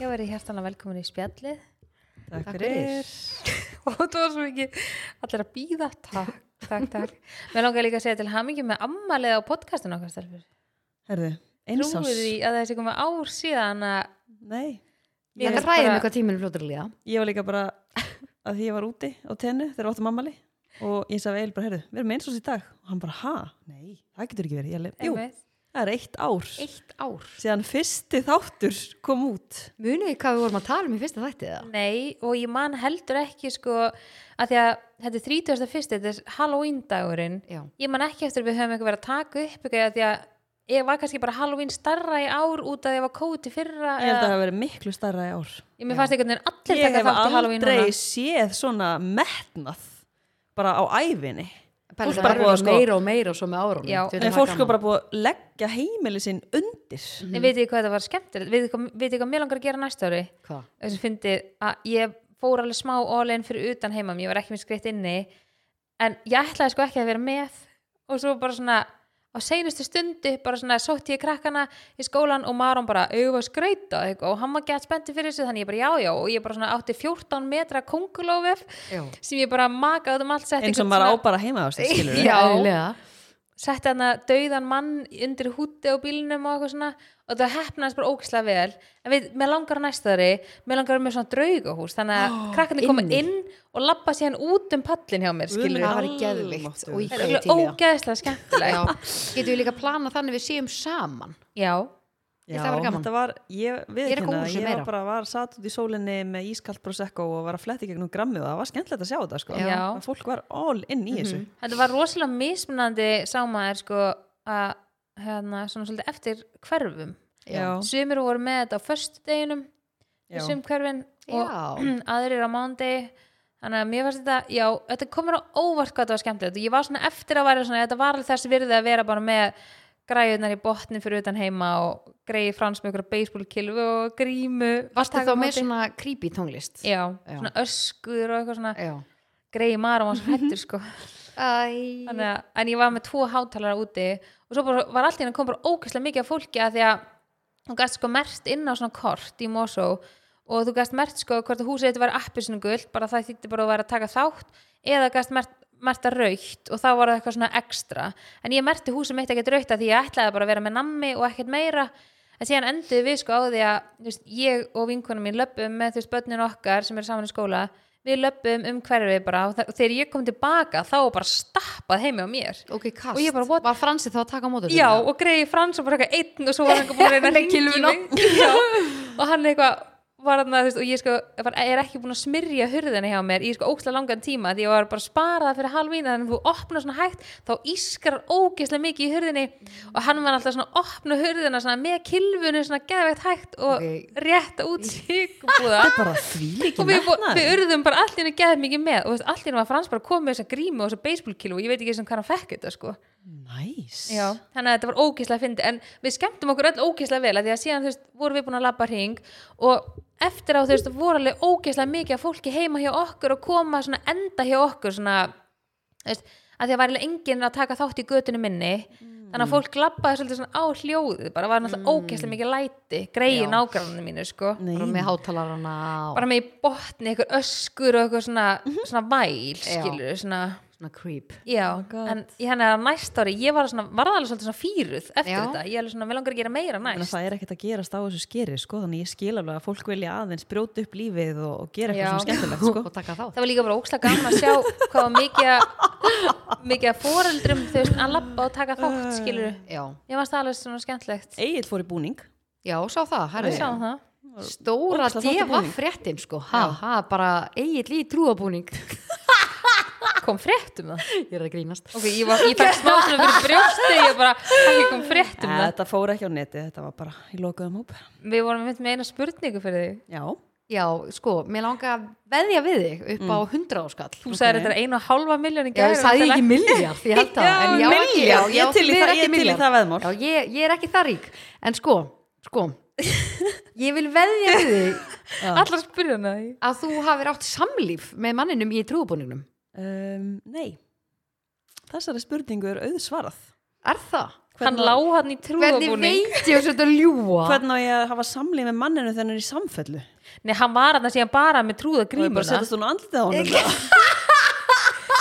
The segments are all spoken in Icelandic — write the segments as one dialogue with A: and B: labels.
A: Ég verið hjertanlega velkomin í spjallið
B: Takk
A: fyrir. og það var svo mikið allir að býða takk, takk, takk Mér langar líka að segja til hamingi með ammalið á podcastinu okkar stelfur
B: Herðu, eins
A: Trúið
B: ás.
A: því að þessi komið ár síðan að
B: Nei,
A: Ég
C: Ég
A: er
C: er ræðin
A: bara-
C: eitthvað tíminn fljótur líða.
B: ég var líka bara að því ég var úti á tennu þegar við áttum ammali og ég sagði Egil bara, herðu, við erum eins ás í dag og hann bara, ha, nei, það getur ekki verið Ég alveg, Jú,
A: einmitt,
B: það er eitt ár
C: Eitt ár.
B: síðan fyrsti þáttur kom út
C: Munið þið hvað við vorum að tala um í fyrsta þætti það?
A: Nei, og ég man heldur ekki sko að því að þetta er 31. þetta er Halloween dagurinn
C: Já.
A: Ég man ekki eftir að við höfum eitthvað verið að taka upp eitthvað af því að ég var kannski bara Halloween starra í ár út að ég var kóti fyrra
B: Ég held að það hafi verið miklu starra í ár
A: Ég mér fannst einhvern veginn allir
B: Ég
A: taka
B: hef
A: þátt í Halloween núna.
B: aldrei séð svona metnað bara á æfinni
C: Pæli,
B: Fólk
C: það
B: bara
C: verður
B: búið að sko-
C: meira og meira og svo með árunum.
A: Já.
C: Þið
B: En
C: veitum
B: fólk
C: það
B: er bara búið að leggja heimili sinn undir
A: En veitir hvað þetta var skemmtilegt? Veitir hvað, vitið hvað mér langar að gera næsta ári?
C: Hvað?
A: Þess að fyndi að ég fór alveg smá all-in fyrir utan heima mér, ég var ekki minn skreitt inni en ég ætlaði sko ekki að vera með og svo bara svona á seinustu stundu bara svona sótti ég krakkana í skólan og Maron bara auðvitað að skreita og hann var gett spennti fyrir þessu þannig ég bara já já og ég bara svona átti 14 metra kongulófef
C: Já.
A: sem ég bara makaði út um allt setti
B: eins og
A: einhvern
B: maður á
A: svona-
B: bara heima á sig, skilur
A: Já.
C: Eðlilega.
A: setti hann að dauðan mann undir húti á bílnum og eitthvað svona og það hefnaðist bara ógislega vel en við, mér langar á næsta ári, mér langar að vera með svona draugahús, þannig að krakkarnir koma
C: inni.
A: inn og labba síðan út um pallin hjá mér, skilur við
C: Það var geðvikt.
B: Almáttugur.
C: Og í
A: það
C: hverju
A: er
C: til í það.
A: ógeðslega skemmtileg
C: Já.
A: já.
C: Getum við líka að plana þannig við séum saman.
B: Já,
C: það var gaman.
B: þetta var, ég við
C: Ég er að koma úr
B: ég
C: þessu
B: var
C: meira.
B: bara var satt út í sólinni með ískalt prosecco og var að fletti gegnum grammi og það var skemmtilegt að sjá þetta sko.
A: Já.
B: Að fólk var all inn í
C: Mhm.
B: þessu.
A: þetta var rosalega mismunandi sá maður sko að hérna, svona svolítið eftir hverfum
B: Já.
A: sumir voru með þetta á föstudeginum
B: Já.
A: í sum hverfin og
C: Já.
A: aðrir á mándegi þannig að mér fannst þetta, já, þetta komur á óvart hvað þetta var skemmtilegt og ég var svona eftir að vera svona, þetta var alveg þess virði að vera bara með græðunar í botni fyrir utan heima og greiði frans með ykkur baseballkilfu og grímu
C: Varstu
A: Taka
C: þá
A: á
C: með
A: móti.
C: svona creepy tónlist?
A: já,
C: Já.
A: svona öskur og eitthvað svona
C: Já.
A: greiði marum og svona hættur sko
C: Æ.
A: Þannig að, en ég var með tvo hátalara úti og svo bara var allt hérna kom bara ókvæslega mikið af fólki að því að þú gæst sko mert inn á svona kort í Mosó og þú gæst mert sko hvort að húsið þetta var appi svona guld, bara það þýtti bara að vera að taka þátt eða gæst mert merta raukt og þá var það eitthvað svona ekstra en ég merti húsið mitt ekkert raukt að því ég ætlaði bara að vera með nammi og ekkert meira en síðan enduðu við sko á því að þú veist, ég og vinkunum mín löpum með þú veist börnin okkar sem eru saman í skóla við löpum um hverfið bara og þa- og þegar ég kom tilbaka þá var bara stappað heimi á mér
C: Ok, kast.
A: Og ég bara, what-
C: Var Fransi þá að taka á mótu?
A: já og greiði frans og bara eitthvað einn og svo var hann eitthvað búin að reyna að
C: Ekki
A: ringi mig Já, og hann eitthvað var hann að þú veist og ég sko var, er ekki búin að smyrja hurðina hjá mér í sko ókslega langan tíma því ég var bara að spara það fyrir halvín þannig að þú opnar svona hægt þá ískar ógeðslega mikið í hurðinni og hann var alltaf svona að opna hurðina svona með kilfunu svona geðveikt hægt og
C: Ok.
A: rétta út síkubúða
B: Þetta er bara því líki
A: og við, fó-
B: metnaður.
A: við urðum bara allir að geða mikið með og allir var frans bara komið með þessa grímu og þessa baseballkilu og ég veit ekki sem hvað hann fekk þetta sko
B: Næs.
A: Já, þannig að þetta var ógíslega fyndi en við skemmtum okkur öll ógíslega vel að því að síðan þú veist, vorum við búin að labba hring og eftir á þú veist, voru alveg ógíslega mikið af fólki heima hjá okkur og koma svona enda hjá okkur svona, þú veist, að því að var alveg enginn að taka þátt í götunni minni þannig að fólk labbaði svolítið svona á hljóðið bara var náttúrulega ógíslega mikið læti
C: Já.
A: greiði nágranninu mínu sko
B: Nei.
C: Bara með hátalarana og
A: bara með í botni eitthvað öskur og eitthvað svona, svona væl
C: Já.
A: skilur, svona
C: svona creep.
A: Já,
B: God.
A: en í henni að næst ári ég var svona, varða alveg svolítið svona fýruð eftir
C: Já.
A: þetta, ég er alveg svona, við langar að gera meira
B: Þannig að
A: næst
B: það er ekkert að gerast á þessu skeri sko, þannig ég skil alveg að fólk vilja aðeins brjóta upp lífið og, og gera
A: Já.
B: eitthvað svona skemmtilegt sko.
C: Og taka þá.
A: það var líka bara ókslega gaman að sjá hvað var mikið að- mikið að foreldrum þau veist að labba og taka þátt skilur
C: Já.
A: ég varst alveg svona skemmtlegt
B: Egil fór í búning.
C: Já, sá það.
A: við
C: herðu.
A: sáum það
C: Stóra
B: Ógeðslega flottur
C: deva
B: búning.
C: fréttin sko ha, ha, bara eigiðl í trúabúning
A: kom frétt um það
C: Ég er að grínast
A: ok, ég, var, ég fekk smá svona fyrir brjósti ég bara, ekki kom frétt um það
B: Þetta fór ekki á neti, þetta var bara í lokuðum hóp.
A: við vorum mynd með eina spurningu fyrir þig
B: Já.
C: Já, sko, mér langar að veðja við þig upp
B: Mm.
C: á 100 áskall
A: þú sagðir þetta er einu og hálfa miljón í
C: Já, ég
A: gær og
C: sagði
A: þetta
C: ekki
A: er-
C: miljard, ég held það
B: Já,
C: en ég á ekki-
B: milljarð,
C: já,
B: ég
C: á
B: til í
C: því miður
B: það-
C: ekki
B: ég til í
C: milljarð.
B: það veðmál.
C: Já, ég, ég er ekki það rík En sko, sko Ég vil veðja við þig
A: allar spurninga því
C: að þú hafir átt samlíf með
B: Ehm,
C: manninum í trúabúningnum
B: Um, nei. Þessari spurningu er auðsvarað.
C: Er það?
A: hann
B: Hvernig-
A: lá hann í
C: Hvernig
A: trúðabúning
C: veit ég þessu þetta ljúa?
B: Hvernig á ég að hafa samlíf með manninu þegar hann er í samfellu?
A: nei, hann var hann að síðan bara með
B: Og ég bara
A: trúðagrímuna
B: setjast hún á andlitið á honum eða?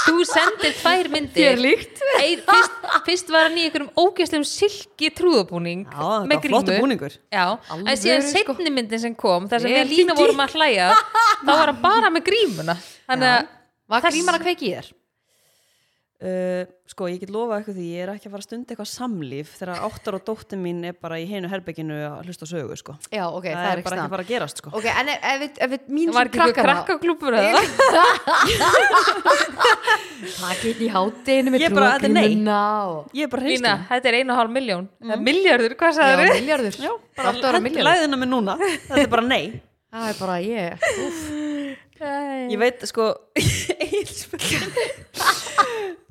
A: þú sendir tvær myndir
C: Þér líkt
A: Ein, fyrst, fyrst var hann í einhverjum ógeðslegum silki trúðabúning
B: Já, þetta
A: með
B: var flottu
A: grímu
B: búningur
A: Já, en
C: Alvöru,
A: síðan
C: sko.
A: setni myndin sem kom þar sem
C: Vel
A: við lína
C: fínt í.
A: vorum að hlæja þá var hann bara með grímuna þannig að
C: Var grímar að kveiki í þér?
B: uh, Sko, ég get lofað eitthvað því ég er ekki að fara að stunda eitthvað samlíf þegar áttar og dóttir mín er bara í hinu herbygginu að hlusta á sögu, sko
C: Já, ok,
B: það,
C: það, er
B: er bara
C: staðan.
B: ekki bara að gerast, sko
C: Ok, en ef, ef, við- ef, ef mín
A: var ekki eitthvað
C: krakkana-
A: krakkaklúpur eða?
C: Takk eitt í hátinu með
B: Ég bara, þetta er nei.
C: trúagrímuna og...
B: Ég er bara
A: Lína,
B: hreinskilin
A: þetta er einu og hálf miljón mm. miljardur, hvað
C: Já,
A: sagður þið?
C: miljardur Já, bara
B: Hentu læðina mig núna, þetta er bara nei
C: Það er bara ég
B: Ég veit, sko Egilsbjörn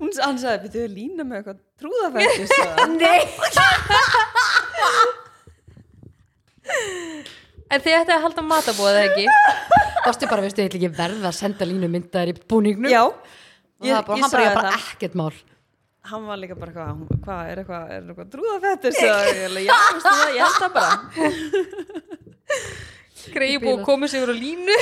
B: Hún hann sagði, byrjuðu lína með eitthvað trúðafættis
C: Nei
A: en þið ætti að halda matabóð eða ekki
C: Varstu bara, veistu, ég ætla ekki verða að senda línu myndaðir í búningnum
B: Já
C: Og það er bara, hann bara,
B: sagði
C: ég bara
B: það.
C: ekkert mál
B: hann var líka bara hvað, hún- hvað er eitthvað, er eitthvað trúðafettir já, veistu það, ég held það bara
A: greið og komið sig úr á línu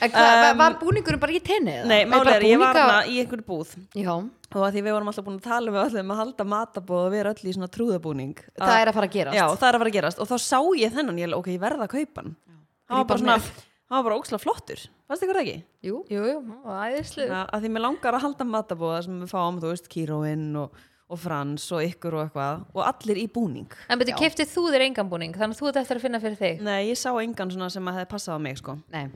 C: En hvað, var búningurinn bara ekki tenni?
B: nei, máli er, ég var hana í einhverju búð
C: Já,
B: og að því við vorum alltaf búin að tala með öllum að halda matabóð og vera öll í svona trúðabúning
C: það er að fara að
B: Ah.
C: gerast
B: já, það er að fara að gerast og þá sá ég þennan, ég held, ok, ég verða að kaupa hann hann var
C: Grípa
B: bara
C: hann
B: svona,
C: með.
B: hann var bara óksla flottur fannst ykkur það ekki?
C: Jú,
A: jú, jú, æðislu
B: að, að því mér langar að halda matabóða sem við fáum, þú veist, kíróinn og, og frans og ykkur og eitthvað og allir í búning
A: en betur keftið þú þér engan búning þannig að þú ert eftir að finna fyrir þig
B: Nei, ég sá engan svona sem að hefði passað á mig, sko.
C: nei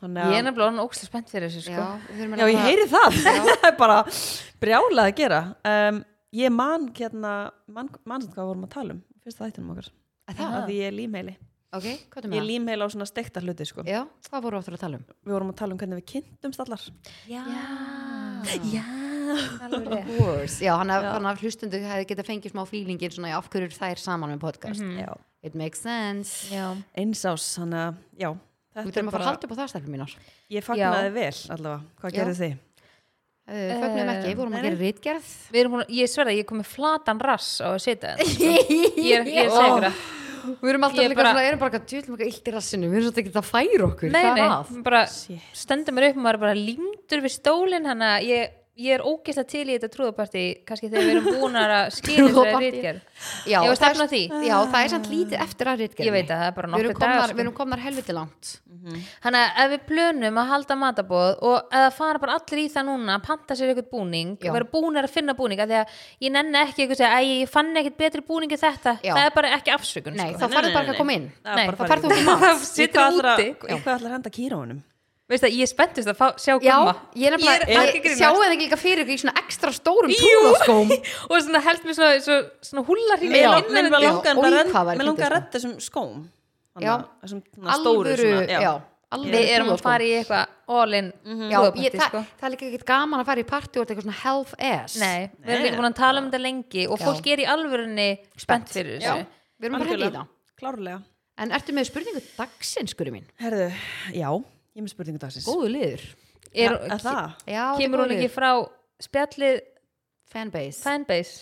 B: Þannig
A: ég er nefnilega orðin ókslega spennt fyrir þessu sko.
B: Já, ég heyri það. það er bara brjálað að gera. Um, ég man, hérna, man, man sem hvað við vorum að tala um, í fyrsta þættinum okkar.
C: það?
B: Að Því ég er límheili.
C: Ok, hvað er
B: Ég er
C: með það?
B: límheili á svona steikta hluti, sko.
C: Já, hvað voru áttur að tala um?
B: Við vorum að tala um hvernig við kynntumst allar.
A: já,
B: Já.
A: alveg rétt.
C: Wars, já, hann haf, hann haf hlustundu hefði getað fengið smá fílingin svona í af hverju eru þær saman með podcast
B: Já.
C: It makes sense
A: já.
B: Eins ás, þannig að, já.
C: Við
B: Þetta er
C: þurfum að fara að
B: bara,
C: halda upp á það stærfum mínar uh,
B: ég fagnaði vel allavega. Hvað
C: Já.
B: gerðu þið?
C: Fögnum ekki, vorum að
B: nei,
C: gera rítgerð
A: Við erum búin að, ég sverða, ég kom með flatan rass á að setja þetta sko. ég er, ég er segur að
C: Við erum alltaf
A: Ég
C: líka
A: bara-
C: svona, erum bara eitthvað djúðlum eitthvað illt í rassinu, við erum svolítið ekki að færa okkur,
A: nei,
C: hvað er að?
A: nei, bara stendur mér upp og maður er bara límdur við stólinn hann að ég, ég er ógeðslega til í þetta trúðapartí kannski þegar við erum búnar að skýra þessari
C: Trúðapartí.
A: rítgerð
C: Já,
A: Ég var
C: og það er-
A: stefna að því.
C: Já, það er samt lítið eftir að rítgerðinni.
A: Ég veit að það er bara
C: Við erum
A: nokkrir
C: komnar-
A: dagar, sko. Mm,
C: Við erum komnar helviti langt.
A: Þannig að ef við plönum að halda matabóð og eða fara bara allir í það núna að panta sér eitthvað búning
C: Já.
A: og vera búnar að finna búning af því að ég nenni ekki eitthvað að segja að ég fann ekkert betri búning en þetta
C: Já.
A: það er bara ekki afsökun
C: Nei,
A: sko.
C: þá farðu bara ekki að koma inn.
B: Það er
A: Nei,
B: bara
C: Þá
B: að fara
C: farðu
B: í-
C: þú ekki mat.
A: Þá
B: Í
A: situr
B: hvað ætlar að-
A: úti
B: í hvað ætlar að henda kíróunum?
A: Veist það, ég er spenntist að fá, sjá
C: Já,
A: gumma
C: ég er
A: Ég er
C: nefnilega,
A: ekki að
C: ég
A: grínast.
C: sjáu það ekki líka fyrir ykkur í svona ekstra stórum sko. trúðaskóm.
A: og svona held mér svona, svona, svona húlarhring
B: Mér
C: Já.
B: lang- mér bara
C: Já,
B: langar
C: og í
B: bara að
C: hvað
B: renn- mér
C: væri fyndið,
B: langar að
C: sko?
B: redda þessum skóm Þannig
C: Já.
B: að- þessum svona stóru
C: Alvöru,
B: svona,
C: já, alvöru
A: Við erum að
C: trúðaskóm.
A: fara í eitthvað all-in
C: sko. Mhm. Já,
A: trúðapartí,
C: ég, það,
A: sko.
C: það er líka ekkert gaman að fara í partí og þetta er eitthvað svona health ass
A: Nei, við erum líka búin að tala um þetta lengi og
C: Já.
A: fólk er í alvörunni spennt fyrir
C: Já,
A: þessu
C: Við erum bara hefði í
B: Algjörlega.
C: það
B: klárlega
C: En ertu með spurningu dagsins, skuri mín?
B: herðu, já, ég er með spurningu dagsins
C: Góðu liður
A: er,
B: Ja, er það?
C: Já, þetta er
A: Kemur hún
C: góður
A: ekki
C: liður.
A: frá spjallið
C: Fanbase
A: fanbase?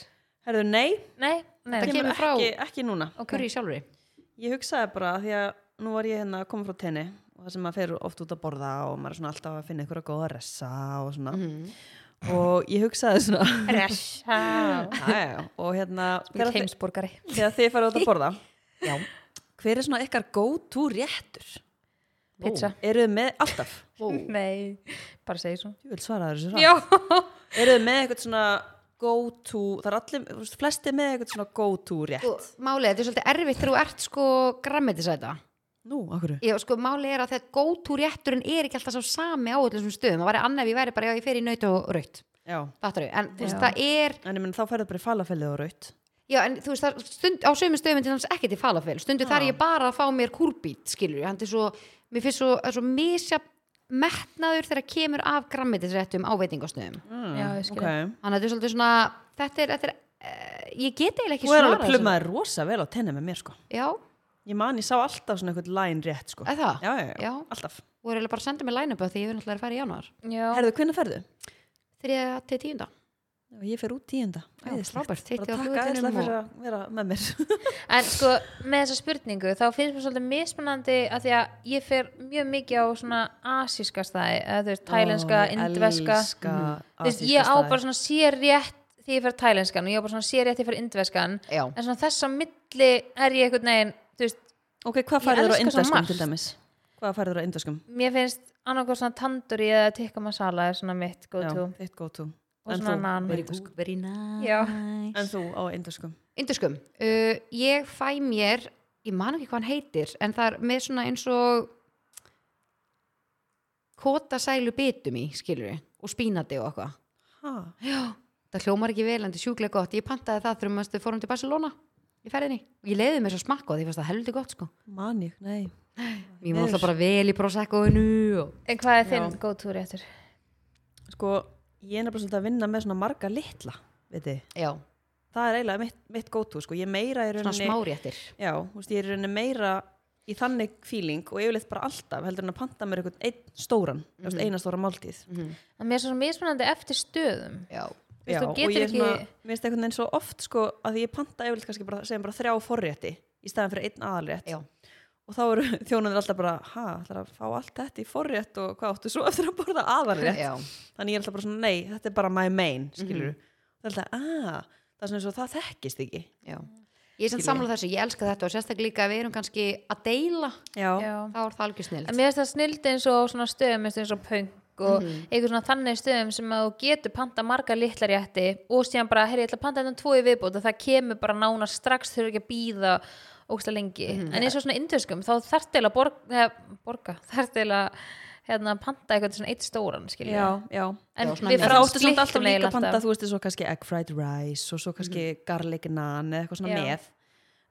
B: herðu, nei,
A: Nei, nei,
C: Það
A: nei.
C: kemur- frá-
B: ekki, ekki núna
A: ok.
C: Hverju sjálfri?
B: ég hugsaði bara að því að nú var ég hérna að koma frá tenni og það sem maður fer oft út að borða og maður er svona alltaf að finna ykkur að góða ressa og svona og ég hugsaði svona
A: Fresh Þú
B: Æ, já, já, og hérna þegar
A: ert
B: þið-
A: heimsborgari
B: þegar þið farið út að borða
C: Já
B: hver er svona ykkar go-to réttur?
A: Pizza
B: eru þið með alltaf?
A: Nei, bara segi svo
B: Ég vil svara þessu rátt
A: Já,
B: Eru þið með eitthvað svona go to, það er allir, þú veist, flesti með eitthvað svona go to rétt.
C: Sko, Málið, þetta er svolítið erfitt þegar þú ert sko grammetisæta
B: Nú, okkur.
C: Já, sko, málið er að þetta gótu rétturinn er ekki alltaf svo sami á öllum þessum stöðum Það væri annað ef ég væri bara, já, ég fer í naut og raut
B: Já.
C: Fattarðu? En þú veist, það er
B: En ég menn, þá færðu bara í falafelið og raut.
C: Já, en þú veist, það, stund, á sömu stöðum er til hans ekki til falafel, stundu þar er ég bara að fá mér kúrbít, skilur, hann er svo mér finnst svo, það er svo misja metnaður þegar kemur af grammetisréttum á veitingastöðum.
B: Mm,
A: Já, ég skil.
B: Okay.
C: Þannig að þetta er svolítið svona þetta er, þetta er uh, ég get eiginlega ekki
B: Þú er
C: svarað
B: alveg plummaði rosa vel á tenni með mér, sko.
C: þessu. Já,
B: Ég man, ég sá alltaf svona eitthvað line rétt, sko.
C: Er það?
B: Já, já, já,
C: Já.
B: alltaf.
C: og er eiginlega bara að senda mér line-up af því ég vil náttúrulega að fara í januar.
A: já
B: Herðu, hvernig ferðu?
C: Þriða til tíunda.
B: og ég fer út tíunda
C: Já,
B: Æðislegt.
C: frábært. Hitti
B: bara
C: á
B: takk
C: flugvellinum
B: aðeinslega fyrir
C: og-
B: að vera með mér
A: En sko, með þessa spurningu þá finnst mér svolítið mismunandi að því að ég fer mjög mikið á svona asíska staði, eða þú veist, tælenska,
B: Ó, ég
A: indveska
B: elska
A: Þú veist,
B: asíska
A: ég á
B: staði.
A: bara svona sér rétt því ég fer tælenskan og ég á bara svona sér rétt því ég fer indveskan
C: Já.
A: en svona þess að milli er ég einhvern veginn, þú veist,
B: ok, hvað
A: Ég
B: færður á
A: elska svo
B: indaskum
A: margt.
B: til dæmis? hvað færður á indaskum?
A: mér finnst annarkoð svona tandoori eða tikka masala er svona mitt go to
B: eitt go to
A: og
B: En
A: svona
B: þú?
A: nan
C: Very good, very
A: Já.
C: nice
B: en þú á indaskum
C: Induskum, uh, ég fæ mér ég man ekki hvað hann heitir en það er með svona eins og kotasælu bitum í, skilur við og spínati og eitthvað
B: ha,
C: það hljómar ekki vel en þetta er sjúklega gott ég pantaði það þegar maður fórum til Barcelona í ferðinni og ég leiði mér svo smakka á því ég fannst það helviti gott sko
B: man ég, nei
C: ég má alltaf bara vel í proseccoinu og...
A: En hvað er þinn go to réttur?
B: sko, ég er nefnilega svolítið að vinna með svona marga litla veit þið,
C: já,
B: það er eiginlega mitt, mitt go to sko, ég meira í
C: svona
B: rauninni
C: smáréttir
B: já, þú veist, ég er í rauninni meira í þannig feeling og yfirleitt bara alltaf heldur en að panta mér einhvern einn stóran mm -hmm. eina stóra máltíð
A: En mér er svona mismunandi eftir stöðum
C: já,
A: Þú veist, þú
B: og
A: getur
B: ég er
A: ekki-
B: svona, mér finnst einhvern veginn svo oft sko að því ég panta yfirleitt kannski bara, segjum bara þrjá forrétti í staðan fyrir einn aðalrétt
C: já,
B: og þá eru þjónunir alltaf bara, ha, ætlar að fá allt þetta í forrétt og hvað áttu svo eftir að borða aðalrétt
C: já,
B: þannig ég er alltaf bara svona, nei, þetta er bara my main skilur, mm -hmm. það er alltaf, ah það er svona eins og það þekkist ekki
C: já ég er samt samlega þessu, ég elska þetta og sérstaklega líka að við erum kannski að deila
B: já,
A: Já.
C: þá er það algjör snill
A: En mér finnst það snildi eins og á svona stöðum eins og- eins og punk og
B: Mhm.
A: einhver svona þannig stöðum sem að þú getur panta marga litlar rétti og síðan bara, herri, ég ætla að panta þetta tvo í viðbót og það kemur bara nána strax þurfa ekki að býða ógsta lengi
B: Mhm.
A: en eins og svona indverskum, þá þarf til að borg, eh, borga, þarf til að hérna, panta eitthvað svona eitt stóran skilja.
B: já, já.
A: en
C: Já, svona
A: við
B: En það áttu samt
A: splitum
B: alltaf líka
A: eiginlega
B: að panta,
A: alltaf.
B: þú veist, svo kannski egg fried rice og svo kannski garlic naan eða eitthvað svona
A: Já.
B: með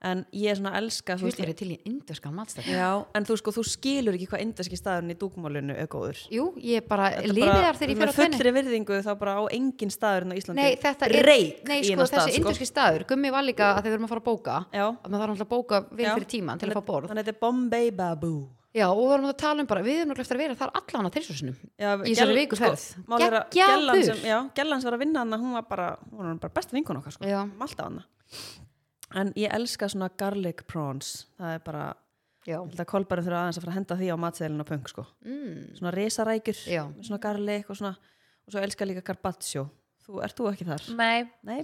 B: en ég er svona að elska þú veist,
C: Hjúslega til í indverska matstæð
B: Já, en þú sko, þú skilur ekki hvað inderski staðurinn í dúkmálinu er góður.
C: Jú, ég bara
B: Þetta
C: lifið
B: bara-
C: þar þegar ég
B: með
C: fyrir á tönni
B: fullri virðingu þá bara á engin staðurinn á Íslandi.
C: Nei, þetta er,
B: Reyk
C: nei,
B: í
C: sko,
B: eina
C: þessi
B: stað,
C: sko. staður Gummi var líka að þau verðum að fara að bóka
B: Já.
C: að maður þarf alltaf að bóka vel
B: Já.
C: fyrir tíman til að fá borð
B: Þannig að þetta er Bombay Baboo.
C: Já, og við erum að tala um bara, við erum náttúrulega eftir að vera þar allan á tilsvarsinum
B: Já, sko,
C: í þessari viku ferð
B: mál er að Gellan sem,
C: Geggjaður!
B: já, Gellan sem var að vinna hana, hún var bara, hún var bara besta vinkun okkar, sko.
C: Já.
B: Malta hana. En ég elska svona garlic prawns. Það er bara,
C: Já,
B: ég held að kolbæri þurfa aðeins að fara að henda því á matseðilin og punk, sko.
C: mm,
B: Svona risarækjur,
C: Já.
B: með svona garlic og svona, og svo elska ég líka garbaccio. Þú, ert þú ekki þar?
A: Nei,
B: Nei,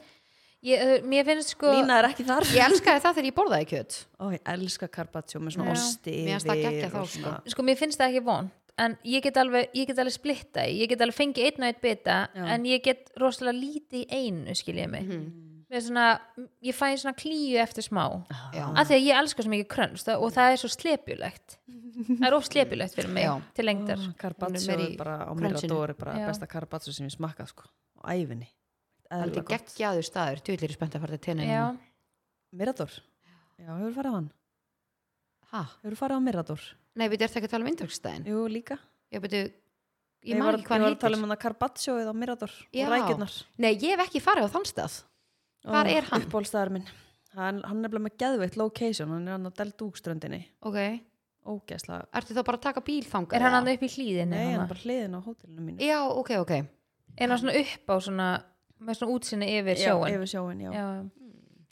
A: ég, mér finnst sko
B: Lína er ekki þar
C: ég elskaði það þegar ég borðaði kjöt
B: Ó, ég elska carpaccio með svona
A: Já.
B: osti
C: Mér finnst það
B: yfir
C: geggjað þá,
B: og svona-
A: sko mér finnst það ekki vond en ég get alveg, ég get alveg splitta í, ég get alveg fengið einn og einn bita
B: Já. Mhm.
A: en ég get rosalega lítið í einu skil ég mig mm. svona, ég fæ svona klíu eftir smá
C: Já.
A: af því að ég elska svo mikið krönst og það er svo slepjulegt það er of slepjulegt fyrir mig
C: Já.
A: til lengdar
B: Ó, Ah, Carpaccio
C: Hún er meira
B: er
C: í
B: bara á
C: crunchinu.
B: Mirador er bara
A: Já.
B: besta carpaccio sem ég smakkað sko á ævinni
C: Þetta
B: Eðlilega
C: er
B: gott.
C: geggjaður staður, tjóðlir er spennt að fara til
B: Ah.
C: tenni
A: já,
B: Mirador? Já, hefur farið á hann?
C: Hæ?
B: Hefur farið á Mirador?
C: Nei, við erum ekki að tala um indverkstæðin
B: Jú, líka
C: Ég beti,
B: Ég
C: ég man
B: var,
C: ekki
B: ég
C: hvað
B: var
C: hann
B: að tala um
C: heitir
B: hann að carpaccio eða á Mirador
C: Já.
B: og rækjurnar
C: Nei, ég hef ekki farið á þann stað Hvar er hann?
B: Uppbólstaðar minn Hann, hann er nefnilega með geðveitt location, hann er hann á Del Duke ströndinni
C: Ok,
B: Ógæslega
C: ertu þá bara að taka bíl þangað?
A: er hann
C: eða?
A: hann upp í hlýðinu
B: Nei, hann er bara hliðin á hótelinu mínu
C: Já, ok, ok
A: er hann svona upp á svona með svona útsinni yfir
B: Já,
A: sjóin
B: Yfir sjóin, já,
A: já.
B: já.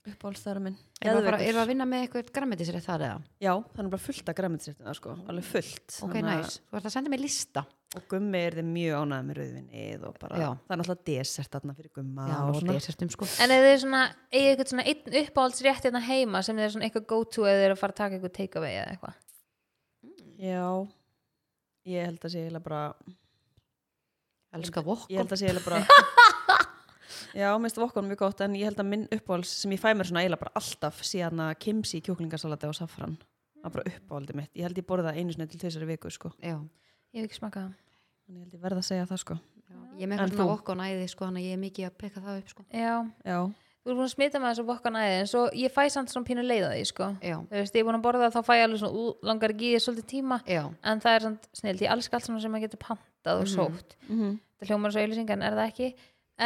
B: uppbólstaðar minn
C: Erum við, bara,
B: Geðveikur.
C: erum við að vinna með eitthvað græmetisrétt þar eða?
B: Já, það er bara fullt af græmitisréttina sko, alveg fullt
C: Ok,
B: Þannig
C: næs.
B: að-
C: Þú ert að senda mér lista.
B: Og gummi er þið mjög ánægð með rauðvinnið og bara,
C: Já.
B: það er náttúrulega desert þarna fyrir gumma
C: Já,
B: og
C: og
B: svona
C: desertum sko.
A: en eða þið er svona, eigið eitthvað svona einn uppáhaldsrétt hérna heima sem þið er svona eitthvað go to eða þið er að fara að taka eitthvað take away eða eitthvað
B: Já, ég held að sé eiginlega bara
C: Elskar
B: Ég
C: vokkum.
B: held að sé eiginlega bara Já, minnst vokkon mjög gott en ég held að minn uppáhalds sem ég fæ mér svona eiginlega bara alltaf síðan að kimsi kjúklingasalati og safran það er bara uppáhaldi mitt, ég held ég borða það einu sinni til þessari viku sko,
C: Já.
A: Ég hef ekki smakað það.
B: en ég held ég verð að segja það sko
C: Já. Ég er með
B: En
C: eitthvað svona
B: þú?
C: vokkun æði sko, þannig að ég er mikið að peka það upp sko.
A: Já,
B: Já,
A: þú er búin að smita með þessu vokkan aðeins en svo ég fæ samt svona pínu leið á því, sko.
C: Já.
A: Þú veist, ég er búin að borða það, þá fæ ég alveg svona, ú, langar ekki í því svolítið tíma,
C: Já.
A: en það er samt snill, ég elska allt svona sem maður getur pantað og sótt.
B: Mhm.
A: Það hljómar svo auðlýsing, en er það ekki.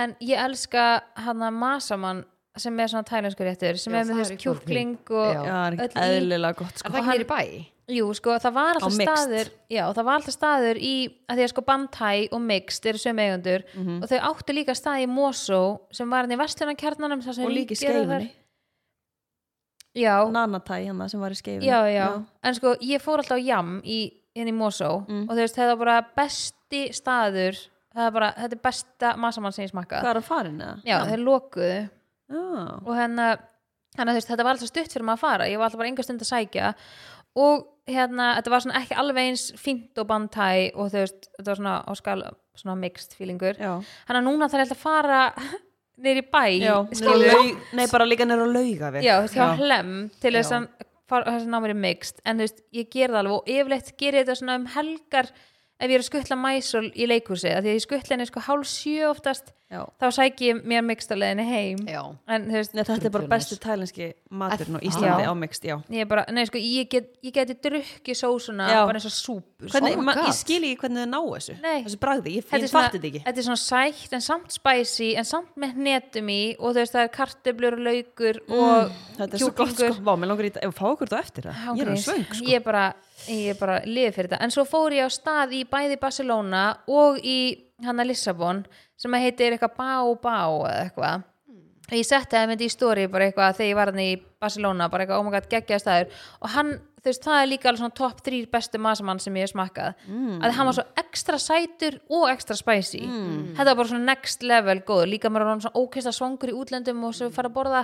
A: En ég elska hana masamann sem er svona tælensku réttur, sem
C: Já,
A: er með
C: það
A: þess
C: er í formi.
A: kjúkling og
C: Já.
B: það er
A: öll
B: ekki
A: í-
B: eðlilega gott
C: Er
B: sko
C: það ekki nýri bæ?
A: Jú, sko, það var alltaf
B: Á mixed.
A: staður Já, það var alltaf staður í að því að sko Bandhæ og Mixed eru sömu eigundur
B: Mhm.
A: og þau áttu líka stað í Mosó sem var hann í Vestlunarkjarnanum
B: og líka í
A: skeifunni
B: skeifinni
A: Já,
B: Nanatæ hérna sem var í skeifinni
A: já, já, En sko, ég fór alltaf á Jam í, hérna í Mosó
B: Mm.
A: og þú veist, það var bara besti staður það er bara, þetta er besta massamann sem ég smakkað
B: Hvað er að farin eða?
A: Já, þeir lokuðu
B: Já.
A: og hérna, hérna þú veist, þetta var alltaf stutt fyrir maður að fara, ég var alltaf bara enga stund að sækja og hérna, þetta var svona ekki alveg eins fínt og bandhæ og þú veist, þetta var svona á skala svona mixed feelingur,
B: Já.
A: hann að núna þarf ég alltaf að fara niður í bæ
B: Já,
A: skilurðu?
B: laug, nei bara líka nefnir að lauga við
A: já, þú veist, hjá hlem til
B: Já.
A: þess að fara- þess að ná mér í mixed en þú veist, ég ger það alveg og yfirleitt ger ég þetta svona um helgar ef ég er að skuttla mæsól í leikhúsi, af því að ég skuttla henni sko hálf sjö oftast,
B: Já.
A: þá sæki ég mér mixed að leiðinni heim
C: Já.
A: en þú veist,
B: Nei, þetta er bara bestu tælenski maturinn á Íslandi
A: Já.
B: ámikst,
C: Oh
B: já
A: Ég er bara, nei sko, ég, get, ég geti drukkið sósuna
B: Já.
A: bara eins og súpu sko.
B: hvernig,
C: Oh my
B: ma-
C: God.
B: Ég skil ekki hvernig þau ná þessu
A: Nei.
B: Þessu bragði, ég,
A: Þetta
B: ég
A: er svona-
B: fatti þetta ekki
A: Þetta er svona sætt en samt spicy en samt með hnetum í og þú veist það er kartöblur og laukur og
B: Þetta er svo gott sko, vá, mér langar í þetta Ef við fá okkur þetta eftir það, ég er
A: Ángríns.
B: alveg svöng sko.
A: Ég er bara, ég er bara liði fyrir þetta en svo fór ég á stað í bæði Barcelona og í hana Lissabon sem að heitir eitthvað Bá Bá eða eitthvað og ég setti það myndi í story bara eitthvað þegar ég var hann í Barcelona bara eitthvað "Oh ómagat geggjaði staður og hann, þú veist, það er líka alveg svona top 3 bestu masamann sem ég hef smakkað mm. að hann var svo ekstra sætur og ekstra spicy þetta var bara svona next level góður, líka maður var hann svona ókesta svangur í útlöndum og svo fara að borða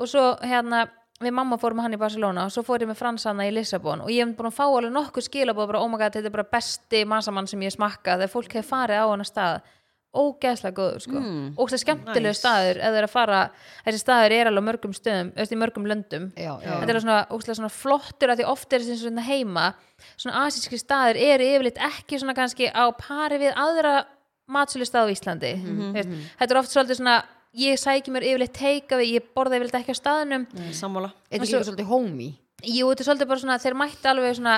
A: og svo hérna, við mamma fórum með hann í Barcelona og svo fór ég með fransanna í Lissabon og ég hef búin að fá alveg nokkuð skilabóð bara ómagat, þetta er bara besti masamann sem ég hef smakkað þegar fólk hefur farið á hann stað ógeðslega góður sko mm. og það skemmtilegu
B: Nice.
A: staður eða er að fara, þessi staður er alveg á mörgum stöðum veist, í mörgum löndum
C: Já, já.
A: þetta er alveg svona, ógeðslega svona flottur að því oft er þessi svona heima svona asíski staður eru yfirleitt ekki svona kannski á pari við aðra matsölu á Íslandi mm þetta er oft svolítið svona ég sæki mér yfirleitt teika við, ég borða yfirleitt ekki á staðnum
B: Sammála
C: Þetta er
A: Svo-
C: líka svolítið homey
A: jú, þetta er svolítið bara svona, þeir mætti alveg svona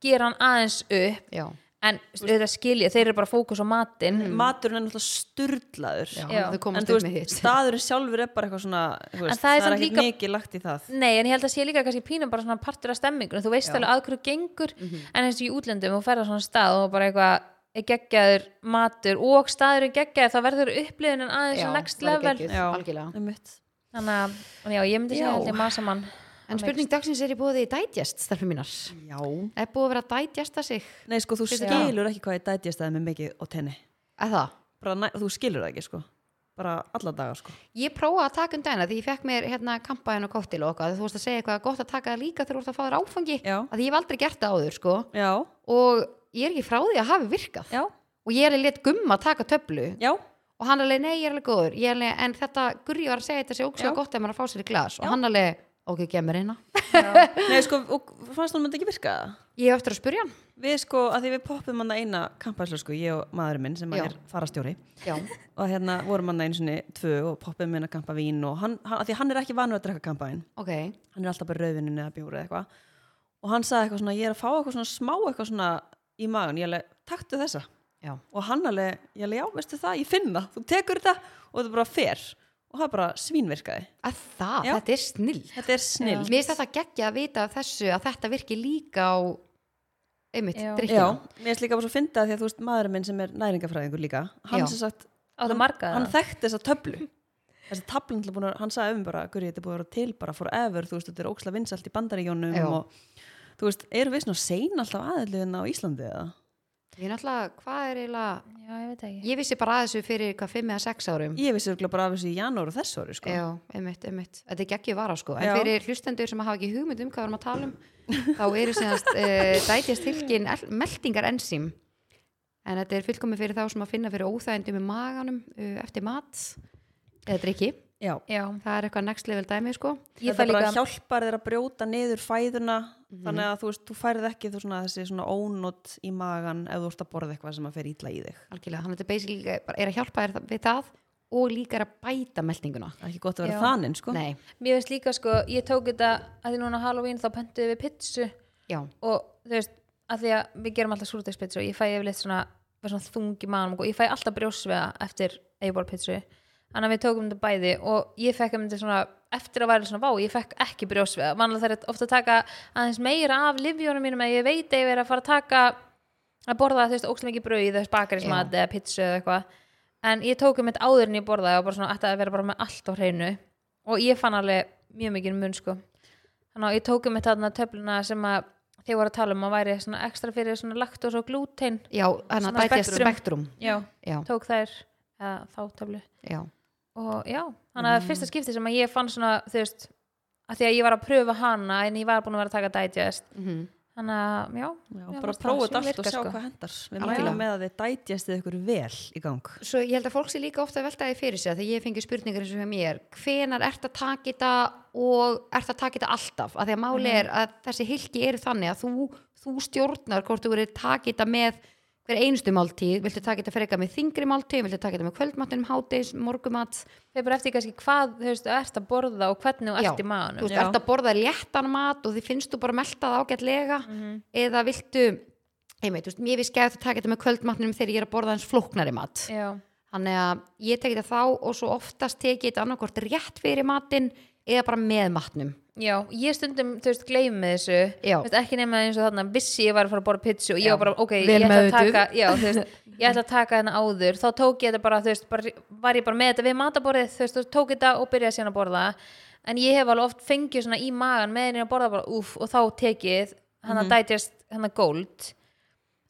A: gera hann aðeins upp
C: Já,
A: en þetta skilja, þeir eru bara fókus á matinn
B: Maturinn er náttúrulega sturdlaður
C: Mm. já,
A: Já.
C: þau
B: En
C: komast
B: þú
C: upp með
B: veist,
C: hitt
B: staðurinn sjálfur er bara eitthvað svona þú veist,
A: það er
B: Það er
A: samt
B: ekkert
A: líka-
B: mikið lagt í það
A: Nei, en ég held að sé líka kannski pínum bara svona partur af stemmingunum, þú veist alveg að hverju gengur
C: Mhm.
A: en eins og í útlöndum og ferða svona stað og bara eitthvað er geggjaður matur og staður er geggjaður, þá verður upplifunin aðeins svona next
C: það er
A: level
C: geggjuð,
B: Já.
C: algjörlega.
B: Einmitt.
A: Þannig að, já, ég myndi segja
B: Já.
A: þetta er masamann
C: En spurning dagsins er ég búið í digest, starfum mínar
B: Já
C: Er búið að vera að digesta sig?
B: Nei, sko, þú
C: Já.
B: skilur ekki hvað ég dæti að staði með mikið og tenni
C: Er það?
B: bara, næ- Þú skilur það ekki, sko Bara alla daga, sko
C: Ég prófaði að taka um dagina því ég fekk mér hérna kampaðin og kóttil og okkar þú veist að segja eitthvað gott að taka það líka þegar þú ert að fá þér áfangi
B: Já.
C: að því ég hef aldrei gert það áður sko
B: Já,
C: og ég er ekki frá því að hafi virkað
B: já,
C: og ég er alveg létt gumma að taka töflu
B: já
C: og hann alveg nei ég er alveg góður Ég er alveg, en þetta gurri var að segja þetta sé
B: Já.
C: ókslega gott ef maður er að fá sér í glas og hann alveg ok, gef mér eina
B: Nei, sko, og fannst hún myndi ekki virka það?
C: ég hef eftir að spurja hann
B: Við sko, að því við poppum hann eina kampaslu sko, ég og maðurinn minn sem
C: Já.
B: er farastjóri
C: Já.
B: og hérna vorum hann einu sinni tvö og poppum hann að kampa vín og hann, hann, að því hann er ekki vanur að drekka kampaðin
C: ok,
B: hann er alltaf bara rauðinu neða bjóri eða eitthvað og hann sagði eitthvað svona, ég er að fá eitthvað svona smá eitthvað svona í magun, ég alveg, taktu þessa
C: já,
B: og hann alveg, ég alveg, já, veistu það, ég finn það þú tekur þetta og þetta bara fer og það bara svínvirkaði,
C: að það,
B: Já.
C: þetta er snill
B: þetta er snill
C: mér finnst þetta geggja að vita af þessu að þetta virki líka á einmitt,
A: Já.
C: drikkina
B: Já, mér finnst líka bara svo fyndið að því að þú veist maðurinn minn sem er næringafræðingur líka
C: Já.
B: hann sem sagt
A: Á það
B: hann-
A: marga
B: hann
A: það?
B: þekkti þessa töflu þessi tablan til að búin að hann sagði um bara Guri, þetta er búin að vera til bara forever þú veist, þetta er óksla vinsalt í bandaríjónum
C: Já.
B: og þú veist, eru við svona sein alltaf aðeins á Íslandi eða?
C: ég er náttúrulega, hvað er eiginlega
A: Já, ég veit ekki
C: Ég vissi bara að þessu fyrir hvað 5 eða 6 árum
B: Ég vissi örugglega bara af þessu í janúar og þessu ári sko.
C: Já, einmitt, einmitt Þetta er geggju vara sko En
B: Já.
C: fyrir hlustendur sem hafa ekki hugmynd um hvað við erum að tala um þá eru síðanst uh, dætjast tilkin meldingar ensím en þetta er fullkomið fyrir þá sem að finna fyrir óþægindum í maganum uh, eftir mat eða drikki
B: Já.
A: Já,
C: Það er eitthvað next level dæmi sko
A: ég
B: Þetta
A: fæ
B: bara
A: líka
B: hjálpar þér að brjóta niður fæðuna þannig að þú veist, þú færð ekki þú svona, þessi svona ónót í magan ef þú ert að borða eitthvað sem að fer ítla í þig
C: Algjörlega, þannig að þetta er basically líka bara er að hjálpa þér við það og líka er að bæta meldinguna
B: Það er ekki gott að vera
A: Já.
B: þaninn sko.
C: Nei,
A: Mér veist líka sko, ég tók þetta að því núna á Halloween þá pöntuðum við pitsu
C: já,
A: og þú veist, að því að við gerum alltaf súrdegspitsu og ég fæ yfirleitt svona, bara svona þungi manum og ég fæ alltaf brjósvega eftir eiginból pitsu þannig að við tókum þetta bæði og ég fekk um þetta svona eftir að væri svona vá, ég fekk ekki brjósveða vanlega þær ofta að taka aðeins meira af livjónum mínum að ég veit að ég er að fara að taka að borða þú veist ókslega mikið brauð þú veist bakarismat eða pizza eða eitthvað en ég tók um eitt áður en ég borðaði og bara svona ætti að vera bara með allt á hreinu og ég fann alveg mjög mikið mun sko þannig að ég tók um eitt þarna töfluna sem að þið voru að tala um að væri svona ekstra fyrir svona laktos og glúten
C: já, hann að
A: Svona
C: dætja
A: spektrum.
C: spektrum
A: já,
C: já,
A: tók þær eða, þá töflu
C: já,
A: og já, þannig að fyrsta skipti sem að ég fann svona, þú veist að því að ég var að pröfa hana en ég var búin að vera að taka digest
C: Mhm.
A: þannig að, já,
B: Já,
A: mér
B: bara
A: fannst
B: prófa þetta
A: það
B: allt og
A: virka,
B: sjá
A: sko.
B: hvað hendar Við
C: Algjörlega.
B: mælum með að þið dætjastið ykkur vel í gang
C: Svo ég held að fólk sé líka ofta að velta því fyrir sig að því ég fengi spurningar eins og hjá mér hvenar ert að taka þetta og ert að taka þetta alltaf að því að máli er
A: Mhm.
C: að þessi hilki eru þannig að þú, þú stjórnar hvort þú verið taka þetta með hver einustu máltíð viltu taka þetta freka með þingri máltíð viltu taka þetta með kvöldmattinum, hádegis, morgumat
A: þeir bara eftir kannski hvað, þú veist, þú ert að borða og hvernig þú
C: Já,
A: ert í
C: þú
A: maðunum
C: veist,
B: Já.
C: ert að borða léttan mat og þið finnst þú bara melta það ágætlega
A: Mhm.
C: eða viltu, einmitt, þú veist, mér finnst gæði að taka þetta með kvöldmattinum þegar ég er að borða eins flóknari mat
A: já,
C: þannig að ég tekið þetta þá og svo oftast tekið þetta annarkvort rétt fyrir matinn eða bara með matnum
A: já, ég stundum, þú veist, gleymi þessu
C: Já.
A: Þú veist, ekki nema eins og þarna, vissi ég var að fara að borða pizza og ég
C: Já.
A: var bara, ok,
C: Vel
A: ég ætla að
C: meðvituð.
A: taka já, þú veist, ég ætla að taka hérna áður þá tók ég þetta bara, þú veist, bara, var ég bara með þetta við mataborðið, þú veist, og tók þetta og byrjaði síðan að borða, en ég hef alveg oft fengið svona í magan með henni að borða bara úff, og þá tekið, hann að
C: Mhm.
A: digest hann að gold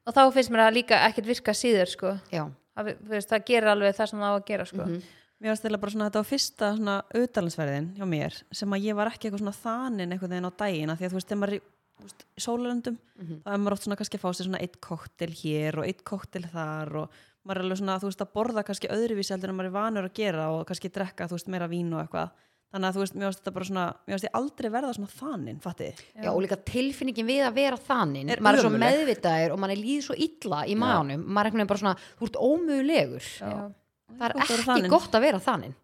A: og þá finnst mér það líka ekkert virka síður sko.
C: já,
A: það, þú veist, það gerir alveg það sem það á að gera sko.
C: Mhm.
B: Mér varst eða bara svona þetta á fyrsta svona auðdalansverðin hjá mér sem að ég var ekki eitthvað svona þanin eitthvað þeginn á daginn af því að þú veist, þegar maður er í- þú veist, í sólalöndum þá er maður oft svona kannski að fá sér svona eitt koktel hér og eitt koktel þar og maður er alveg svona þú veist að borða kannski öðruvísi heldur en maður er vanur að gera og kannski drekka þú veist meira vín og eitthvað þannig að þú veist, mér varst þetta bara svona mér varst ég aldrei verða svona þanin, fattið þið?
C: já, og líka tilfinningin við að vera þannig,
B: Er
C: maður er svo
B: ömurleg.
C: meðvitaður og maður er líð svo illa í maðanum maður er einhvern veginn bara svona, þú ert ómögulegur
A: Já.
C: það er
B: Gott að vera
C: ekki
B: þaninn.
C: gott að vera þannig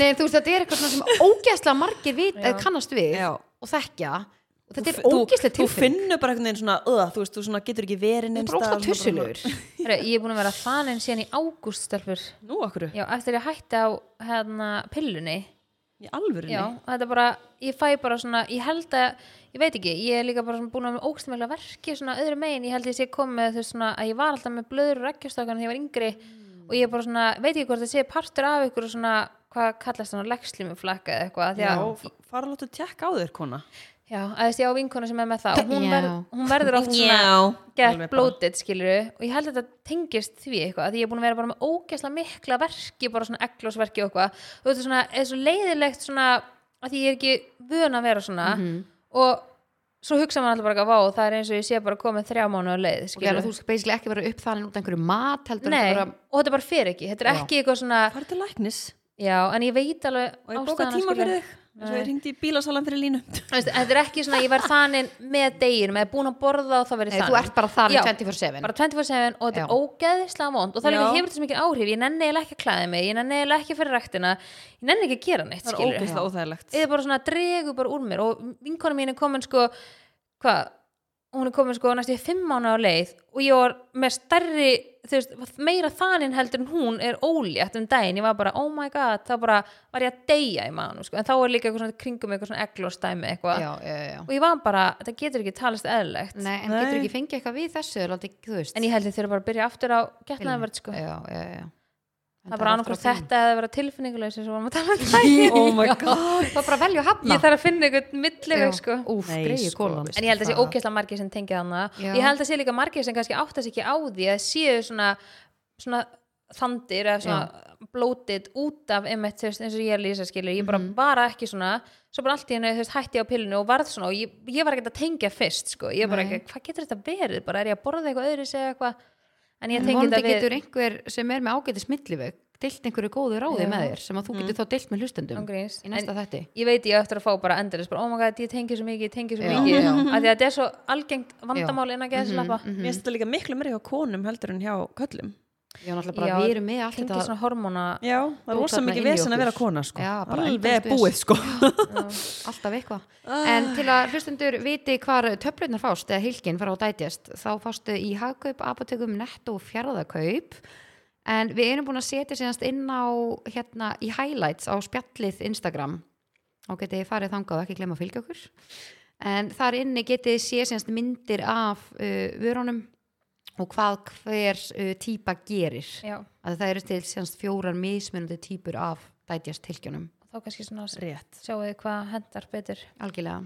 C: Nei, þú veist, þetta er eitthvað svona sem ógeðslega margir vit, eh,
A: Já.
C: kannast við
B: Já.
C: og þekkja og þetta er
B: Þú- þú-
C: ógeðslega
B: Þú
C: tilfinning
B: finnur bara einhvern veginn svona, öða, þú veist, þú svona getur ekki verið
C: Þú er
B: neins
C: bara
B: staðar,
C: ógeðslega
B: svona bara
C: tussulegur
A: Heyrðu, ég er búin að vera þaninn síðan í ágúst stelpur.
B: svona, Nú, okkur,
A: já, eftir ég hætti á hérna, pillunni
B: í alvörunni
A: Já, og þetta er bara, ég fæ bara svona, ég held að, ég veit ekki, ég er líka bara svona búin að vera með ógstumlega verki svona öðru megin, ég held að ég sé komið með þess svona að ég var alltaf með blöður og rekkjastakana þegar ég var yngri og ég bara svona, veit ekki hvort það sé partur af ykkur og svona, hvað kallast svona legslumuflakka eða eitthvað, því að,
B: Já, fara láttu að tjekka á þér, kona
A: já, að þessi á vinkonu sem er með það, og hún,
C: Já.
A: verð, hún verður oft svona
B: Já,
A: gett
B: alveg bara.
A: blótið, skilur og ég held að þetta tengist því eitthvað af því ég er búin að vera bara með ógeðslega mikla verki bara svona eglósverki og eitthvað og þetta er svona, er svo leiðilegt svona að því ég er ekki vön að vera svona
C: Mhm.
A: og svo hugsa maður alltaf bara eitthvað, vá, það er eins og ég sé bara komið þrjá mánu að leið,
C: og gæla,
A: skilur
C: þú skal basically ekki vera uppþaninn út af einhverju mat heldur
A: Nei,
C: bara,
A: og þetta bara fer ekki, þetta er
C: Já.
A: ekki eitthvað svona
B: Fara til læknis
A: já, en ég veit alveg
B: og ég bóka
C: sko
B: tíma fyrir þig eins og ég hringdi í bílasalan fyrir línu
A: Þú veist, þetta er ekki svona, ég verð þaninn með deginum eða búin að borða og það verið
C: Nei, þú ert bara þannig
A: Já,
C: 24/7.
A: bara 24-7 og þetta
C: Já.
A: er ógeðislega vond og það líka
B: Já.
A: hefur þetta svo mikið áhrif, ég nenni eiginlega ekki að klæða mig ég nenni eiginlega ekki að fyrir ræktina ég nenni ekki að gera neitt,
B: Það er
A: skilur
B: ógeðslega óþægilegt
A: eða bara svona dregu bara úr mér og vinkona mín er komin sko hvað, hún er komin sko næstu í fimm mánu á leið og ég var með stærri þú veist, meira þaninn heldur en hún er ólétt um daginn, ég var bara oh my god, þá bara var ég að deyja í manu sko. en þá er líka eitthvað svona kringum eitthvað svona eglostæmi eitthvað
C: já, já, já.
A: og ég var bara, þetta getur ekki talist eðlilegt
C: Nei, en
B: Nei.
C: getur ekki fengið eitthvað við þessu er aldrei, þú veist
A: en ég held ég þurfa bara að byrja aftur á getnaðverð sko.
C: já, já, já.
A: það er bara annarkvæmst þetta eða að vera tilfinningulegs eins og varum að tala um
B: Æ, Oh my god
C: það er bara að velja að hafna
A: ég þarf að finna einhvern milliveg sko.
C: úf,
B: Nei,
C: greiði
B: sko,
C: kólan
A: en ég held að sé ógeðslega margir sem tengið hana
C: Já.
A: ég held að sé líka margir sem kannski áttast ekki á því að séu svona, svona þandir eða svona blótið út af einmitt þú veist, eins og ég er lýsa skilur ég bara
C: Mhm.
A: mm ekki svona svo bara allt í henni hætti ég á pillinu og varð svona og ég, ég var ekki að tengja fyrst sko. ég bara
C: Nei.
A: ekki, hvað getur þetta verið bara er ég að borða eitthvað öðru segja eitthvað en ég
C: en
A: tengi
C: vonandi
A: þetta við
C: getur einhver sem er með ágæti smilliveg deilt einhverju góðu ráði
A: Já.
C: með þér sem að þú
A: Mm.
C: getur þá deilt með hlustendum
A: Ángríns.
C: í næsta þætti
A: ég veit ég á eftir að fá bara endurins bara, oh my god, ég tengi svo mikið, ég tengi svo
C: Já,
A: mikið
C: já. Mhm,
A: af því að þetta er svo algengt vandamál innan geðslappa mm
B: Mér finnst þetta líka miklu meira hjá konum heldur en hjá köllum
C: já, náttúrulega bara við erum með allt
A: tengi
C: þetta
A: svona hormóna
B: Já, það er
C: Þú
B: rosa
C: þarna
B: mikið
C: inni í
B: vesen að
C: okkur.
B: vera kona sko
C: Já, bara
B: Alveg
C: endalaust
B: búið
C: vesen.
B: sko
C: alltaf eitthvað en til að hlustendur viti hvar töflunar fást eða hilkin fara á dætjast þá fástu í hagkaup, apotekum, netto og fjárðakaup en við erum búin að setja síðanst inn á hérna í highlights á spjallið Instagram og getið þið farið þangað og ekki glemma að fylgja okkur en þar inni getið þið sé semst myndir af uh, vörunum og hvað hver uh, típa gerir
A: já,
C: að það eru til semst fjórar mismunandi típur af dætjast tilkjunum
A: þá kannski svona s-
B: rétt
A: sjáum við hvað hendar betur
C: algjörlega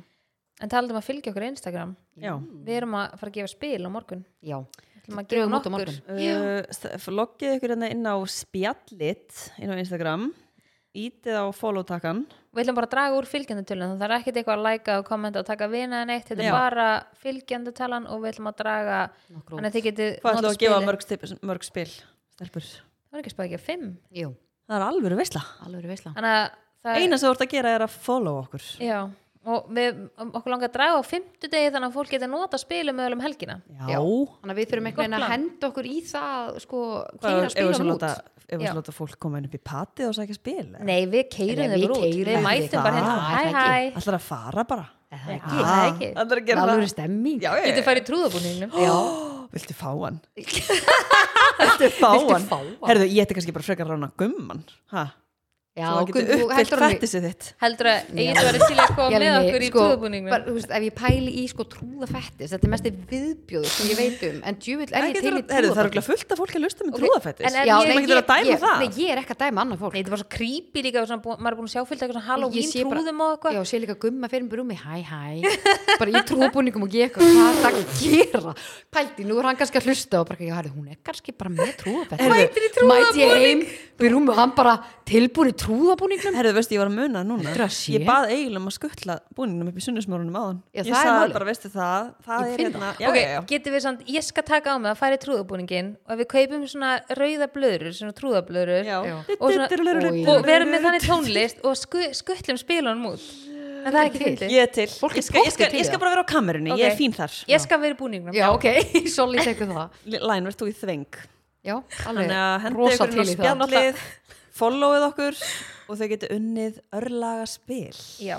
A: en talað um að fylgja okkur á Instagram
B: Já.
A: við erum að fara að gefa spil á morgun
C: já,
A: Við ætlum að gefa
C: drögum út á
A: nokkur.
C: morgun
B: Uh, st- Loggið ykkur hérna inn á spjallit inn á Instagram Ítið á follow-takkan
A: við ætlum bara að draga úr fylgjendutölan það er ekkert eitthvað að læka og kommenta og taka vina en eitt, þetta
B: Já.
A: er bara fylgjendutalan og við ætlum að draga
C: Nokkur
A: þannig að þið getið
B: Hvað ætlum
A: notað
B: að gefa
A: spilið.
B: mörg, stip, mörg spil? Stelpur
A: það er ekki spæð ekki að fimm
C: jú,
B: Það er alvöru veisla
C: alveg verið veisla
A: þannig að það
B: Eina sem þú ert að gera er að follow okkur
A: já, og við, okkur langar að draga á fimmtudegi þannig að fólk geti nota spilum mögulega um helgina
B: Já
C: Já. þannig að við þurfum einhvern
A: Gott
C: veginn að
A: plan.
C: henda okkur í það sko,
B: Hvað
C: kýra
B: ef við svo
C: spilunum út
B: láta- Ef við
A: Já.
B: svo láta fólk koma inn upp í pati og sækja spil
A: nei, við keirum
C: Nei, við
A: þeir bara út
C: keyrum
A: við
C: þeir
A: mætum
B: bara.
A: bara hérna,
C: Ah,
A: hæ
C: það
A: hæ
C: ekki.
B: Ætlar að fara bara
C: Er það ekki?
A: Ah. það ekki.
B: Það er að
C: Það
B: gera
C: er
B: það
C: alveg stemming
B: Já, já,
A: getur farið í trúðabúningnum
C: Já.
B: Viltu fá hann? Viltu fá hann?
C: fá hann?
B: Herðu, ég ætti kannski bara frekar rána gumman ha?
C: Já,
B: Svo hann
C: Gunn,
B: getur
C: þú
B: uppfyllt
C: heldur hann í-
B: fættisið þitt
A: heldur að eigin verið til að koma með
C: Jenny,
A: okkur í
C: sko, bara,
A: trúðabúningnum
C: þú veist, ef ég pæli í sko trúða fættis þetta er mest viðbjóður sem ég veit um en djúvill er ég
B: Ekki
C: til í
B: þurfa- Herðu, það er
C: trúða
B: okkur fullt af fólki að lusta
A: Ok,
B: með okay. trúðafættis
A: en- en
C: Já,
A: ég-
C: nei,
B: maður getur að dæma
C: ég,
B: það.
C: nei, ég er ekki að dæma annað fólk
A: Nei, þetta var svo creepy líka, og svona búin- maður er búin að sjá fyllt eitthvað svona Halloween
C: Ég sé bara-
A: trúðum og eitthvað
C: Já, sé líka gumma fyrir mér um mig, hæ, hæ bara í trúðbúningum og ég eitthvað hvað er það að gera? Pældi, nú er hann kannski að hlusta og bara, já, herri, hún er kannski bara með trúðafett
B: Mætir
C: í trúðabúning Mæti ég heim, byrjum og hann bara tilbúin í trúðabúningnum
B: Herðu, veistu, ég var að muna það
C: Þetta
B: núna
C: sé.
B: Ég bað eiginlega um að skuttla búningnum upp í sunnismórunum áðan
C: Já,
B: Ég
C: það er
B: sagði
C: málið.
B: bara, veistu það, það
C: Ég
B: er
C: finn
B: hérna
C: það.
B: Já,
A: ok,
B: já, já.
A: getum við samt, ég skal taka á mig að fara í trúðabúningin og ef við kaupum svona rauða blöður svona trúðablöður
B: Já.
C: Já.
A: og, svona,
C: Oj.
A: og verum með þannig tónlist og sku, skuttlum spilunum út en það er ekki
C: Ég er til.
A: fyndið
B: Ég er til
C: Fólk er
B: Ég skal, ég
C: pottþétt
B: skal,
C: til í
B: ég skal
C: það.
B: bara vera á kamerunni,
A: Ok.
B: ég er fín þar
A: ég skal vera í búningnum
C: Já, ok, svolítið tekur það
B: Læn, verður þú í þveng
C: Já,
B: Þannig að
C: alveg,
B: hendi
C: rosa
B: ykkur
C: til
B: inn á
C: í það
B: spjallið Followið okkur Og þau getur unnið örlaga spil
A: Já.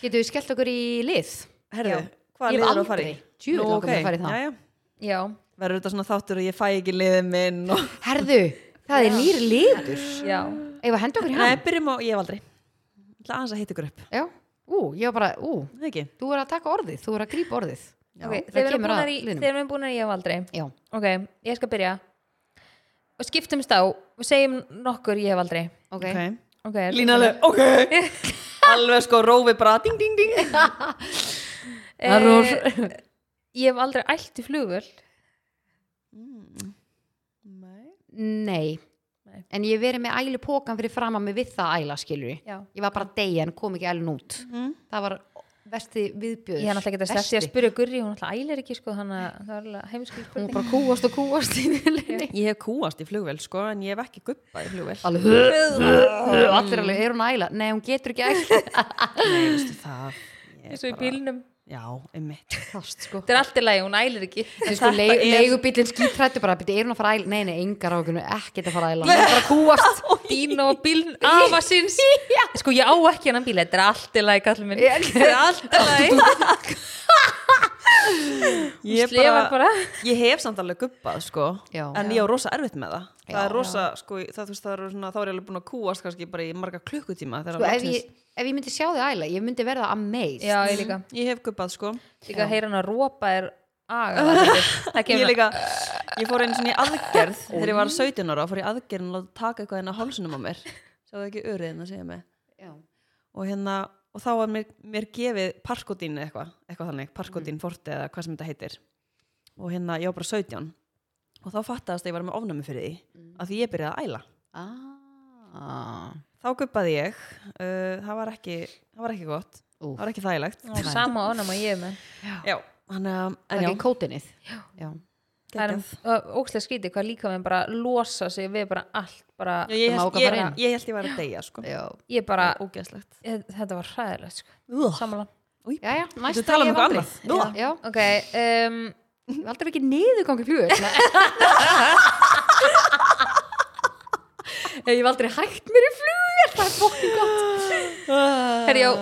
C: Getur við skellt okkur í lið?
B: Herðu,
A: Já.
B: hvað
C: Ég hef
B: liður að fara í?
C: aldrei- Djöfull
B: Nú,
C: langar mig
B: ok,
C: að fara í það.
B: jæja.
A: Já.
B: Verður þetta svona þáttur og ég fæ ekki liðið minn og...
C: Herðu, það er nýr liður
A: Já.
C: Ef að henda okkur í
B: Nei,
C: hann
B: byrjum á, ég hef aldrei Ég ætla aðeins að hitta ykkur upp
C: Já, ú, ég var bara, ú,
B: Það ekki?
C: þú er að taka orðið, þú er að grípa orðið
A: Okay.
C: það
A: þeir verðum
C: kemur að
A: búnar í,
C: liðnum.
A: þeir verða búnar í ég hef aldrei
C: Já,
A: ok, ég skal byrja og skiptumst á og segjum nokkur ég hef aldrei
C: ok,
A: ok, er-
B: Línaleg, ok Alveg sko rófi bara ding ding ding
A: Eh, ég hef aldrei ælt í flugvöld
C: Nei.
A: Nei.
C: En ég hef verið með ælu pókan fyrir fram að mig við það æla, skilur ég.
A: Já. Mm.
C: Ég var bara að deyja en kom ekki ælun út. Það var vesti viðbjöður.
A: ég hef náttúrulega getað sett ég að spyrja Gurri hún alltaf ælir ekki sko, þannig að það var alveg heimskil
C: Hún var
A: spurning
C: bara að kúast og kúast í viljunni.
B: Ég hef kúast í flugvel sko En ég hef ekki guppa í flugvel
C: Alveg, hö, hö, hö, allir alveg, er hún að æla? Nei, hún getur ekki æla.
B: Nei, veistu það ég
A: eins og í
B: bara-
A: bílnum
B: Já, einmitt
C: Kast, sko.
A: þetta er allt í lagi, hún ælir ekki
C: Þetta sko, leig,
B: er-
C: er... leigubílinn skítrættu bara, byrja, er hún að fara að æla? Nei, nei, engar ákveðinu, ekkert að fara að æla. Hún er bara að kúast.
A: Dino og bíl afa síns sko ég á ekki hennan bíl, þetta er allt í lagi kallum minn, þetta er allt í lagi
B: Ég,
A: slefar bara.
B: ég hef samt alveg guppað sko
C: Já.
B: En ég á rosa erfitt með það Það
C: Já.
B: er rosa, sko, það, þú veist, það er svona, þá er ég alveg búin að kúast kannski bara í marga klukkutíma
C: Sko, ef ég, ef ég myndi sjá þig æla, ég myndi verða amazed.
A: já ég líka,
B: ég hef guppað sko
A: líka að heyra hann að rópa er aga það kemur- það
B: ég
A: kemur
B: líka, ég fór einu svona í aðgerð þegar ég var 17 ára, fór ég í aðgerð og láta taka eitthvað inn á hálsunum á mér svo ekki öriðin að segja mig
C: Já.
B: og hérna, og þá var mér, mér gefið parkotín eða eitthvað, eitthvað þannig
C: Mhm.
B: parkotín forti eða hvað sem þetta heitir og hérna, ég var bara 17 og þá fattaðast að ég var með ofnæmi fyrir því
C: Mhm.
B: að því ég byrjaði að æla
C: Ah.
B: þá guppaði ég, uh, það var ekki það var ekki gott,
C: Úf.
B: það var ekki þægilegt
A: Ó, sama ánum og ég er með
B: já, hann að,
C: Það
B: en
C: er
B: já,
C: ekki kótinnið. Já.
A: það
B: geggjað.
A: er ókslega skrítið hvað líka minn bara losa sig við bara allt bara,
B: Já, ég
C: Það má
B: held-
C: ekki
B: ég
C: fara
B: ég- ég held ég var að deyja sko,
C: Já.
A: ég bara
B: ógeðslegt
A: þetta var hræðilegt sko. samanlega
C: Já, já, næst
B: Þú tala um
C: ég hef
B: eitthvað
C: aldrei-
B: annað.
C: Já,
A: ok, um,
C: já. aldrei ekki niðurgangi flugur Ég hef aldrei hægt mér í flugur Það er fokkin gott
B: Herjá,
A: Herjá,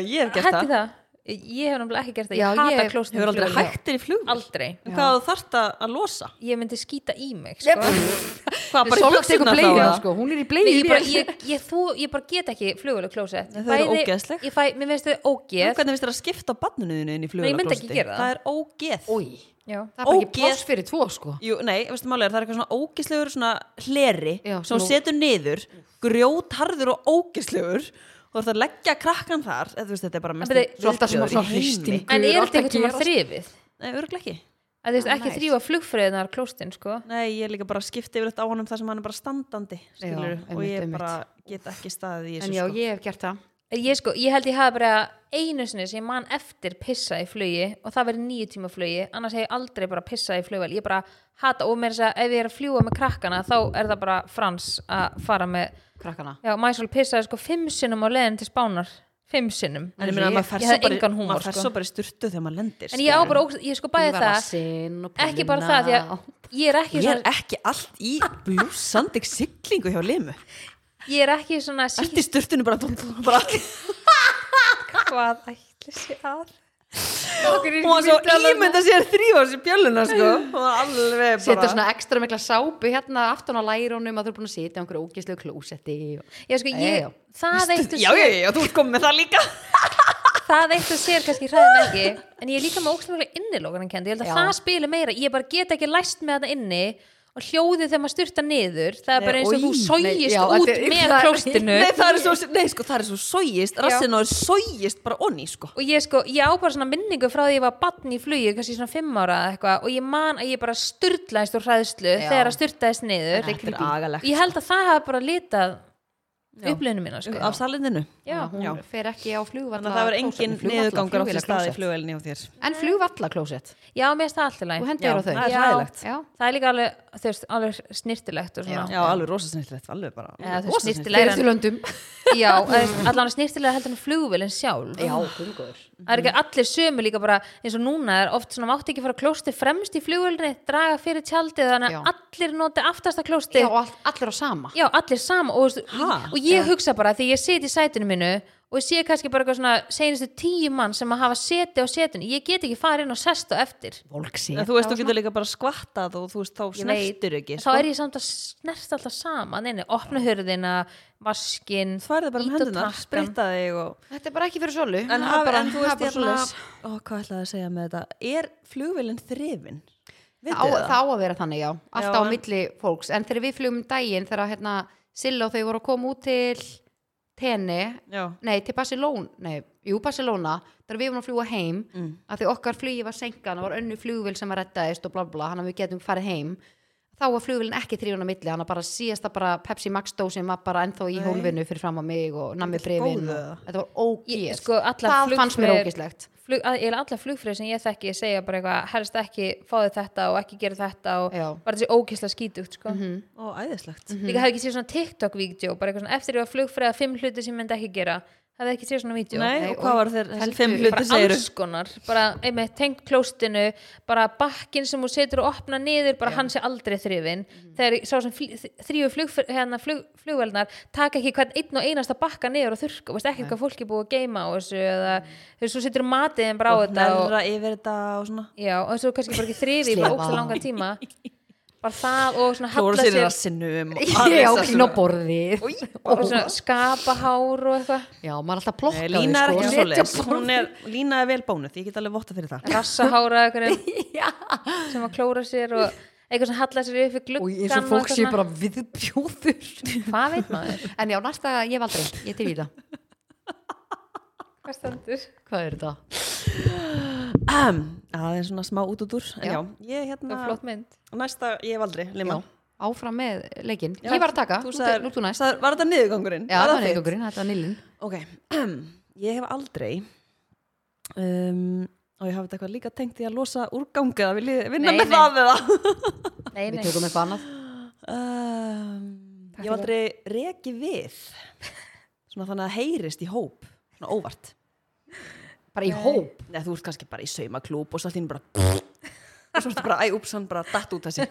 B: ég hef gert
A: hætti
B: það
A: það ég ég hef náttúrulega ekki gert það,
C: Já,
A: ég hata
C: ég-
A: klóstum
B: Hefur aldrei hægt þér í flug?
A: aldrei,
B: En hvað þú þarft að að losa?
A: ég myndi skýta í mig sko.
B: Hvað, bara í
C: Sóla tekur
B: buxurnar þá?
C: bleið
B: eða?
C: sko, hún er í
A: Nei,
C: bleið
A: ég, bara, ég, ég, þú, ég bara get ekki flugulega klósett
B: Nei, þau eru
A: Bæði-
B: ógeðsleg.
A: ég fæ, mér finnst þau
B: Nú,
A: ógeð
B: Hvernig finnst þér að skipta barninu þínu
A: Nei,
B: inn í
A: ég myndi
B: flugulaglosti?
A: ekki gera það.
B: Það er ógeð.
C: Új,
A: já,
C: það er bara ekki
B: Ógeð.
C: pláss fyrir tvo sko
B: Jú, nei, veistu málega, það er eitthvað svona ógislegur svona hleri
C: Já,
B: sem hún
C: svona-
B: setur niður, grjótharður og ógislegur og þú ert að leggja krakkan þar, eða þú veist, þetta er bara mest
A: En byrju,
C: Svo alltaf sem að
B: viðbjóður í
C: svona
B: heimi.
C: hristingur
A: en er
C: allt
A: þetta
C: að
A: eitthvað tíma
C: gerast.
A: þrifið
B: Nei, örgulega ekki.
A: að þú
B: Ah,
A: veist ekki
C: Nice.
A: þrýfa flugfröðunar klóstin sko
B: Nei, ég er líka bara skipt yfir þetta á honum þar sem hann er bara standandi, skilur,
C: einmitt,
B: og ég
C: einmitt.
B: bara get ekki staðið í þessu, sko.
C: En já, ég hef gert það
A: ég, sko, ég held ég hafa bara einu sinni sem ég man eftir pissa í flugi og það verið nýju tíma flugi annars hef ég aldrei bara pissa í flugvel ég bara hata og mér þess að ef ég er að fljúa með krakkana þá er það bara frans að fara með
C: krakkana
A: já, Mæsól pissaði sko fimm sinnum á leiðin til Spánar fimm sinnum
B: En ég meina, maður fer
A: ég
B: svo
A: hafði
B: bara,
A: engan húmor,
B: maður fer
A: sko.
B: svo bara í sturtu þegar maður lendir,
A: en ég á
B: skilurðu.
A: bara, ógeðs- ég sko bæði það ekki bara það, því að ég er ekki
B: Ég er
A: svona,
B: ekki allt í blúsandi siglingu hjá limu.
A: ég er ekki svona sítt
B: Ertu í sturtunum bara, bara
A: hvað ætli sé að
B: hún var svo ímynda sér þrýfa sér bjölluna sko hún var alveg bara
C: Setja svona ekstra mikla sápu hérna aftan á lærunum að þú er búin að setja á einhverju ógæslegu klósetti og...
A: ég sko,
C: Já.
A: ég, það eitt og
B: já, já, já, já, þú ert komið með það líka
A: það eitt og sér kannski hræðum ekki en ég er líka með ógstlega innilókan ég held að
C: Já.
A: það spili meira, ég bara get ekki læst með þetta inni og hljóðið þegar maður styrta niður það er
B: Nei,
A: bara eins og þú
B: oj.
C: Nei,
A: sógist
C: já,
A: út
C: þetta er-
A: með
C: það-
A: klóstinu
B: nei, það er svo, nei, sko, það er svo sógist rassinu er sógist bara onni sko
A: og ég sko, ég á bara svona minningu frá því ég var batn í flugi, kannski svona fimm ára eða eitthvað og ég man að ég bara styrlaðist úr hræðslu
C: Já.
A: þegar að styrtaðist niður
C: Þetta er creepy.
B: agalegt
A: ég held að það hafa bara litað upplifinu mína sko.
B: af salindinu
A: já,
C: Hún
B: Já.
C: fer ekki á flugvalla
B: þannig að það verður engin niðurgangur á því staði flugvelni á þér
C: En flugvalla klósett
A: já, mér finnst það allt í
C: og
A: lagi
C: hendur á þau
B: það er
A: Já.
B: hræðilegt
C: Já,
A: það er líka alveg, þú veist, alveg snirtilegt og svona
B: já, alveg rosa snirtilegt, alveg bara
A: Eða þú
B: rosa
A: veist, snirtilegra
B: snyrtilegt.
C: fyrir til löndum
A: já, þú veist, allan snirtilega heldur en flugvélin sjálf
C: Já, hungur
A: það er ekki allir sömu líka bara eins og núna er oft svona mátt ekki fara klósti fremst í flugvélni, draga fyrir tjaldið þannig
C: Já.
A: að allir noti aftasta klósti
C: Já, og all- allir á sama
A: Já, allir sama og, veistu,
B: Ha?
A: og ég hugsa bara því ég seti í sætinu mínu og ég sé kannski bara eitthvað svona seinustu tíu mann sem að hafa seti á setinu ég get ekki farið inn og sest á eftir
C: Volksi
B: En þú veist, þú getur líka bara skvattað og þú veist, þá snertur ekki
A: En
B: sko.
A: þá er ég samt að snert alltaf sama neini, opna hörðina, vaskin
B: þú færði bara um
A: ýta á
B: hendunar,
A: takkan.
B: spritta þig og
C: Þetta er bara ekki fyrir solu
B: En,
C: Það er
B: haf,
C: bara-
B: en þú
C: það er
B: veist
C: bara
B: hérna,
C: svoleiðis.
B: ó, hvað ætlaði að segja með þetta? Er flugvélinn þrifin? Vitið
C: á,
B: þið
C: það á að vera þannig, já, alltaf
B: Já,
C: á
B: en-
C: milli fólks en þegar við flugum um daginn þegar hérna, Silla og þau voru að koma út til Tene,
B: Já.
C: nei til Barcelona nei, jú Barcelona, þegar við vorum að fljúa heim
B: Mm.
C: að því okkar flugi var senkan og var önnu flugvil sem að reddaðist og bla bla hann að við getum farið heim þá var flugvilin ekki þrjóna milli, hann að bara síðasta bara Pepsi Max dósin var bara ennþá í
B: Nei.
C: hólfinu fyrir fram á mig og
B: Þetta
C: nammi
B: er
C: brefin
B: góðu.
C: og, þetta var ógeð,
A: Ég- sko, allar
C: það fannst mér
A: flugfreyjur-
C: ógeðslegt
A: flug, að, eiginlega alla flugfrið sem ég þekki segja bara eitthvað, helst ekki fáðu þetta og ekki gera þetta og
C: Já.
A: bara þessi ókisla skítugt sko.
B: Og æðislegt.
C: Mm.
A: líka hafði ekki séð svona TikTok-vídeó bara eitthvað svona eftir ég var flugfrið að fimm hluti sem ég myndi ekki gera hafði ekki séð svona vídeó
B: Nei,
C: Nei,
B: og hvað
C: og
B: var þeir þessi
C: heldur-
B: fimm hluti
A: bara
B: segiru?
A: alls konar bara einmitt tengt klóstinu bara bakkin sem hún setur og opna niður bara hann sé aldrei þrifin
B: Mhm.
A: þegar sá sem fl þrýju flug, hérna, flug, flugvelnar taka ekki hvern einn og einasta bakka niður og þurrka, veist ekki hvað fólk er búið að geima á þessu eða þú veist, svo setur matiðin bara á
B: Mm. Og
A: þetta og,
B: nærra yfir þetta og svona.
A: já, og þessu kannski bara ekki þrifi í bara
C: Slefa.
A: ógst langa tíma bara það og svona
B: Klóra
A: halla
B: sér í
A: sér
C: um
B: rassinum.
C: Já, klín á borðið
A: og svona skapa hár og eitthvað
C: Já, maður er alltaf plokkaði
B: Lína er ekki
C: Setja
B: svoleiðis.
C: borð-
B: sko, Hún er, Lína er vel bónuð, ég get alveg votta fyrir það.
A: rassahára einhverjum sem að klóra sér og eitthvað sem halla sér upp í gluggan
C: Og eins og fólk sé bara viðbjóður
A: hvað veit maður?
C: En já, næsta, ég hef aldrei, ég er til í það
A: hvað stendur?
C: Hvað er þetta?
B: Um, það er svona smá út út úr. En
C: Já.
B: já, ég hérna,
A: það er flott mynd
B: næsta, ég hef aldrei,
C: Já,
B: Lima.
C: áfram með leikinn
B: Já.
C: Ég var að taka,
B: Þú
C: nú
B: sagðir-
C: nú- þú næst
B: sagðir- Var þetta niðurgangurinn?
C: Já,
B: Var það
C: það var
B: þitt?
C: neðgangurinn, þetta var nýlinn
B: Ok, ég hef aldrei um, og ég hafði þetta eitthvað líka tengt í að losa úrgang eða vil ég vinna
A: Nei,
B: með
A: nei.
B: það eða
A: nei,
C: Við
A: nei.
C: tökum eitthvað annað
B: um, Ég hef aldrei reki við svona þannig að heyrist í hóp svona óvart
C: Bara í hóp
B: Nei, þú ert kannski bara í saumaklúb og svo allt hinn bara og svo ertu bara, æ, úps, hann bara datt út þessi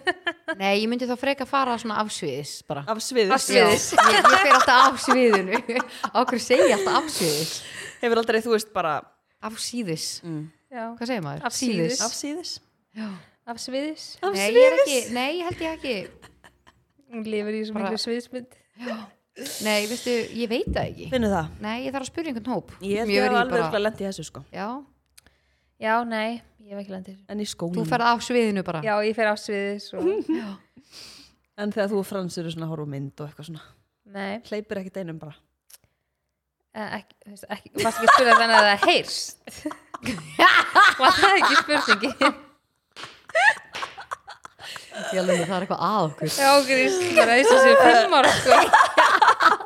C: Nei, ég myndi þá freka fara svona afsviðis bara
B: af sviðis
C: Já, Ég, ég fer alltaf af sviðinu Okkur segi ég alltaf af sviðis
B: Hefur aldrei, þú veist, bara
C: afsíðis,
A: Já.
C: hvað segir maður?
A: Afsíðis.
C: Síðis.
B: Afsíðis
C: Já.
A: af sviðis
C: Nei, ég er ekki, nei, ég held ég ekki
A: hún lifir í svo
C: Bara-
A: miklu sviðismynd
C: Nei, veistu, ég veit það ekki
B: Finnur það?
C: Nei, ég þarf að spyrja einhvern hóp
B: Ég held
C: Mjög
B: ég
C: er
B: að alveg
C: bara-
B: bara... lendi í þessu sko
C: Já,
A: já, nei, ég hef ekki landið
B: En í
C: þú
B: skólanum
C: ferð af sviðinu bara
A: já, ég fer af sviðis og...
B: En þegar þú og Frans eru svona að horfa á mynd og eitthvað svona
A: nei,
B: Hleypir ekkert einum bara
A: eh, ekki, þú veist, ekki varst ekki að spyrja þannig að það heyrst var það ekki spurningi
C: Ég alveg með það er eitthvað að okkur
A: já, grís, bara eins og sér fimm ára sko.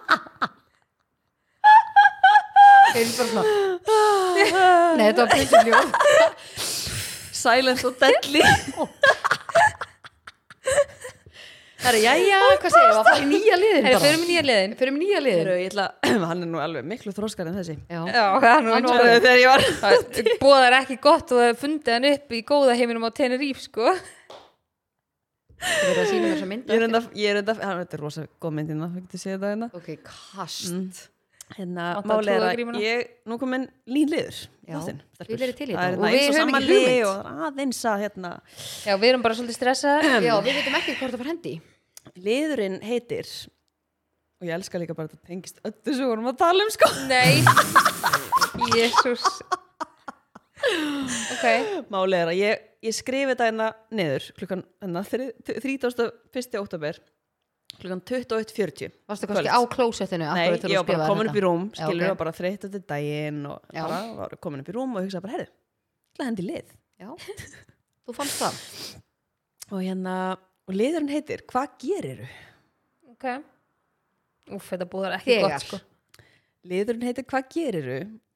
C: Ég er bara svona Nei, þetta var pyntum ljóð
B: Silence og deadly
C: Herra, jæja, hvað segir, var að fara í nýja liðin
A: Heyrðu,
C: bara
A: förum í nýja liðin
C: Fyrir um nýja liðin
B: Heru, ætla, Hann er nú alveg miklu þróskar en þessi
C: Já,
A: já, það er nú
C: Hann
A: alveg-
C: var-
B: Þegar ég var
A: Það bóðar ekki gott og það fundið hann upp í góða heiminum á Teneríf sko
C: þú verður að sína mér svo
B: Ég
C: mynda
B: er enda, ég er enda, hann, þetta er rosa góð myndina, það getur séð það hérna.
C: Ok, kast
B: Hérna,
A: Vantar
B: máli er að
A: trúðagrímuna.
B: ég, nú kom inn lín liður,
C: Já,
B: þáttinn.
C: við erum til í
B: Það er hérna
C: þetta og við
B: eins og
C: höfum
B: saman
C: ekki
B: lið
C: hugmynd
B: og það er aðeins að hérna,
A: Já, við erum bara svolítið stressaðar
C: Já, við veitum ekki hvort það var hendi
B: liðurinn heitir, og ég elska líka bara að þetta tengist öllu sem við vorum að tala um sko.
A: Nei Jésús Ok
B: Máli er að ég, ég skrifi þetta hérna niður klukkan hérna, þri- 31. oktober klukkan 21.40.
C: Varstu
B: Kvöld.
C: kannski á klósettinu
B: Nei, ég var bara komin upp í rúm,
C: Já,
B: skilur
C: ok.
B: ég var bara þreytt eftir daginn og
C: Já.
B: bara var komin upp í rúm og hugsaði bara, herðu, ætla að hendi í lið.
C: Já, þú fannst það
B: Og hérna, og liðurinn heitir, hvað gerir
A: Ok Úf, þetta búðar ekki
C: Þegar
A: gott sko
B: Liðurinn heitir hvað gerir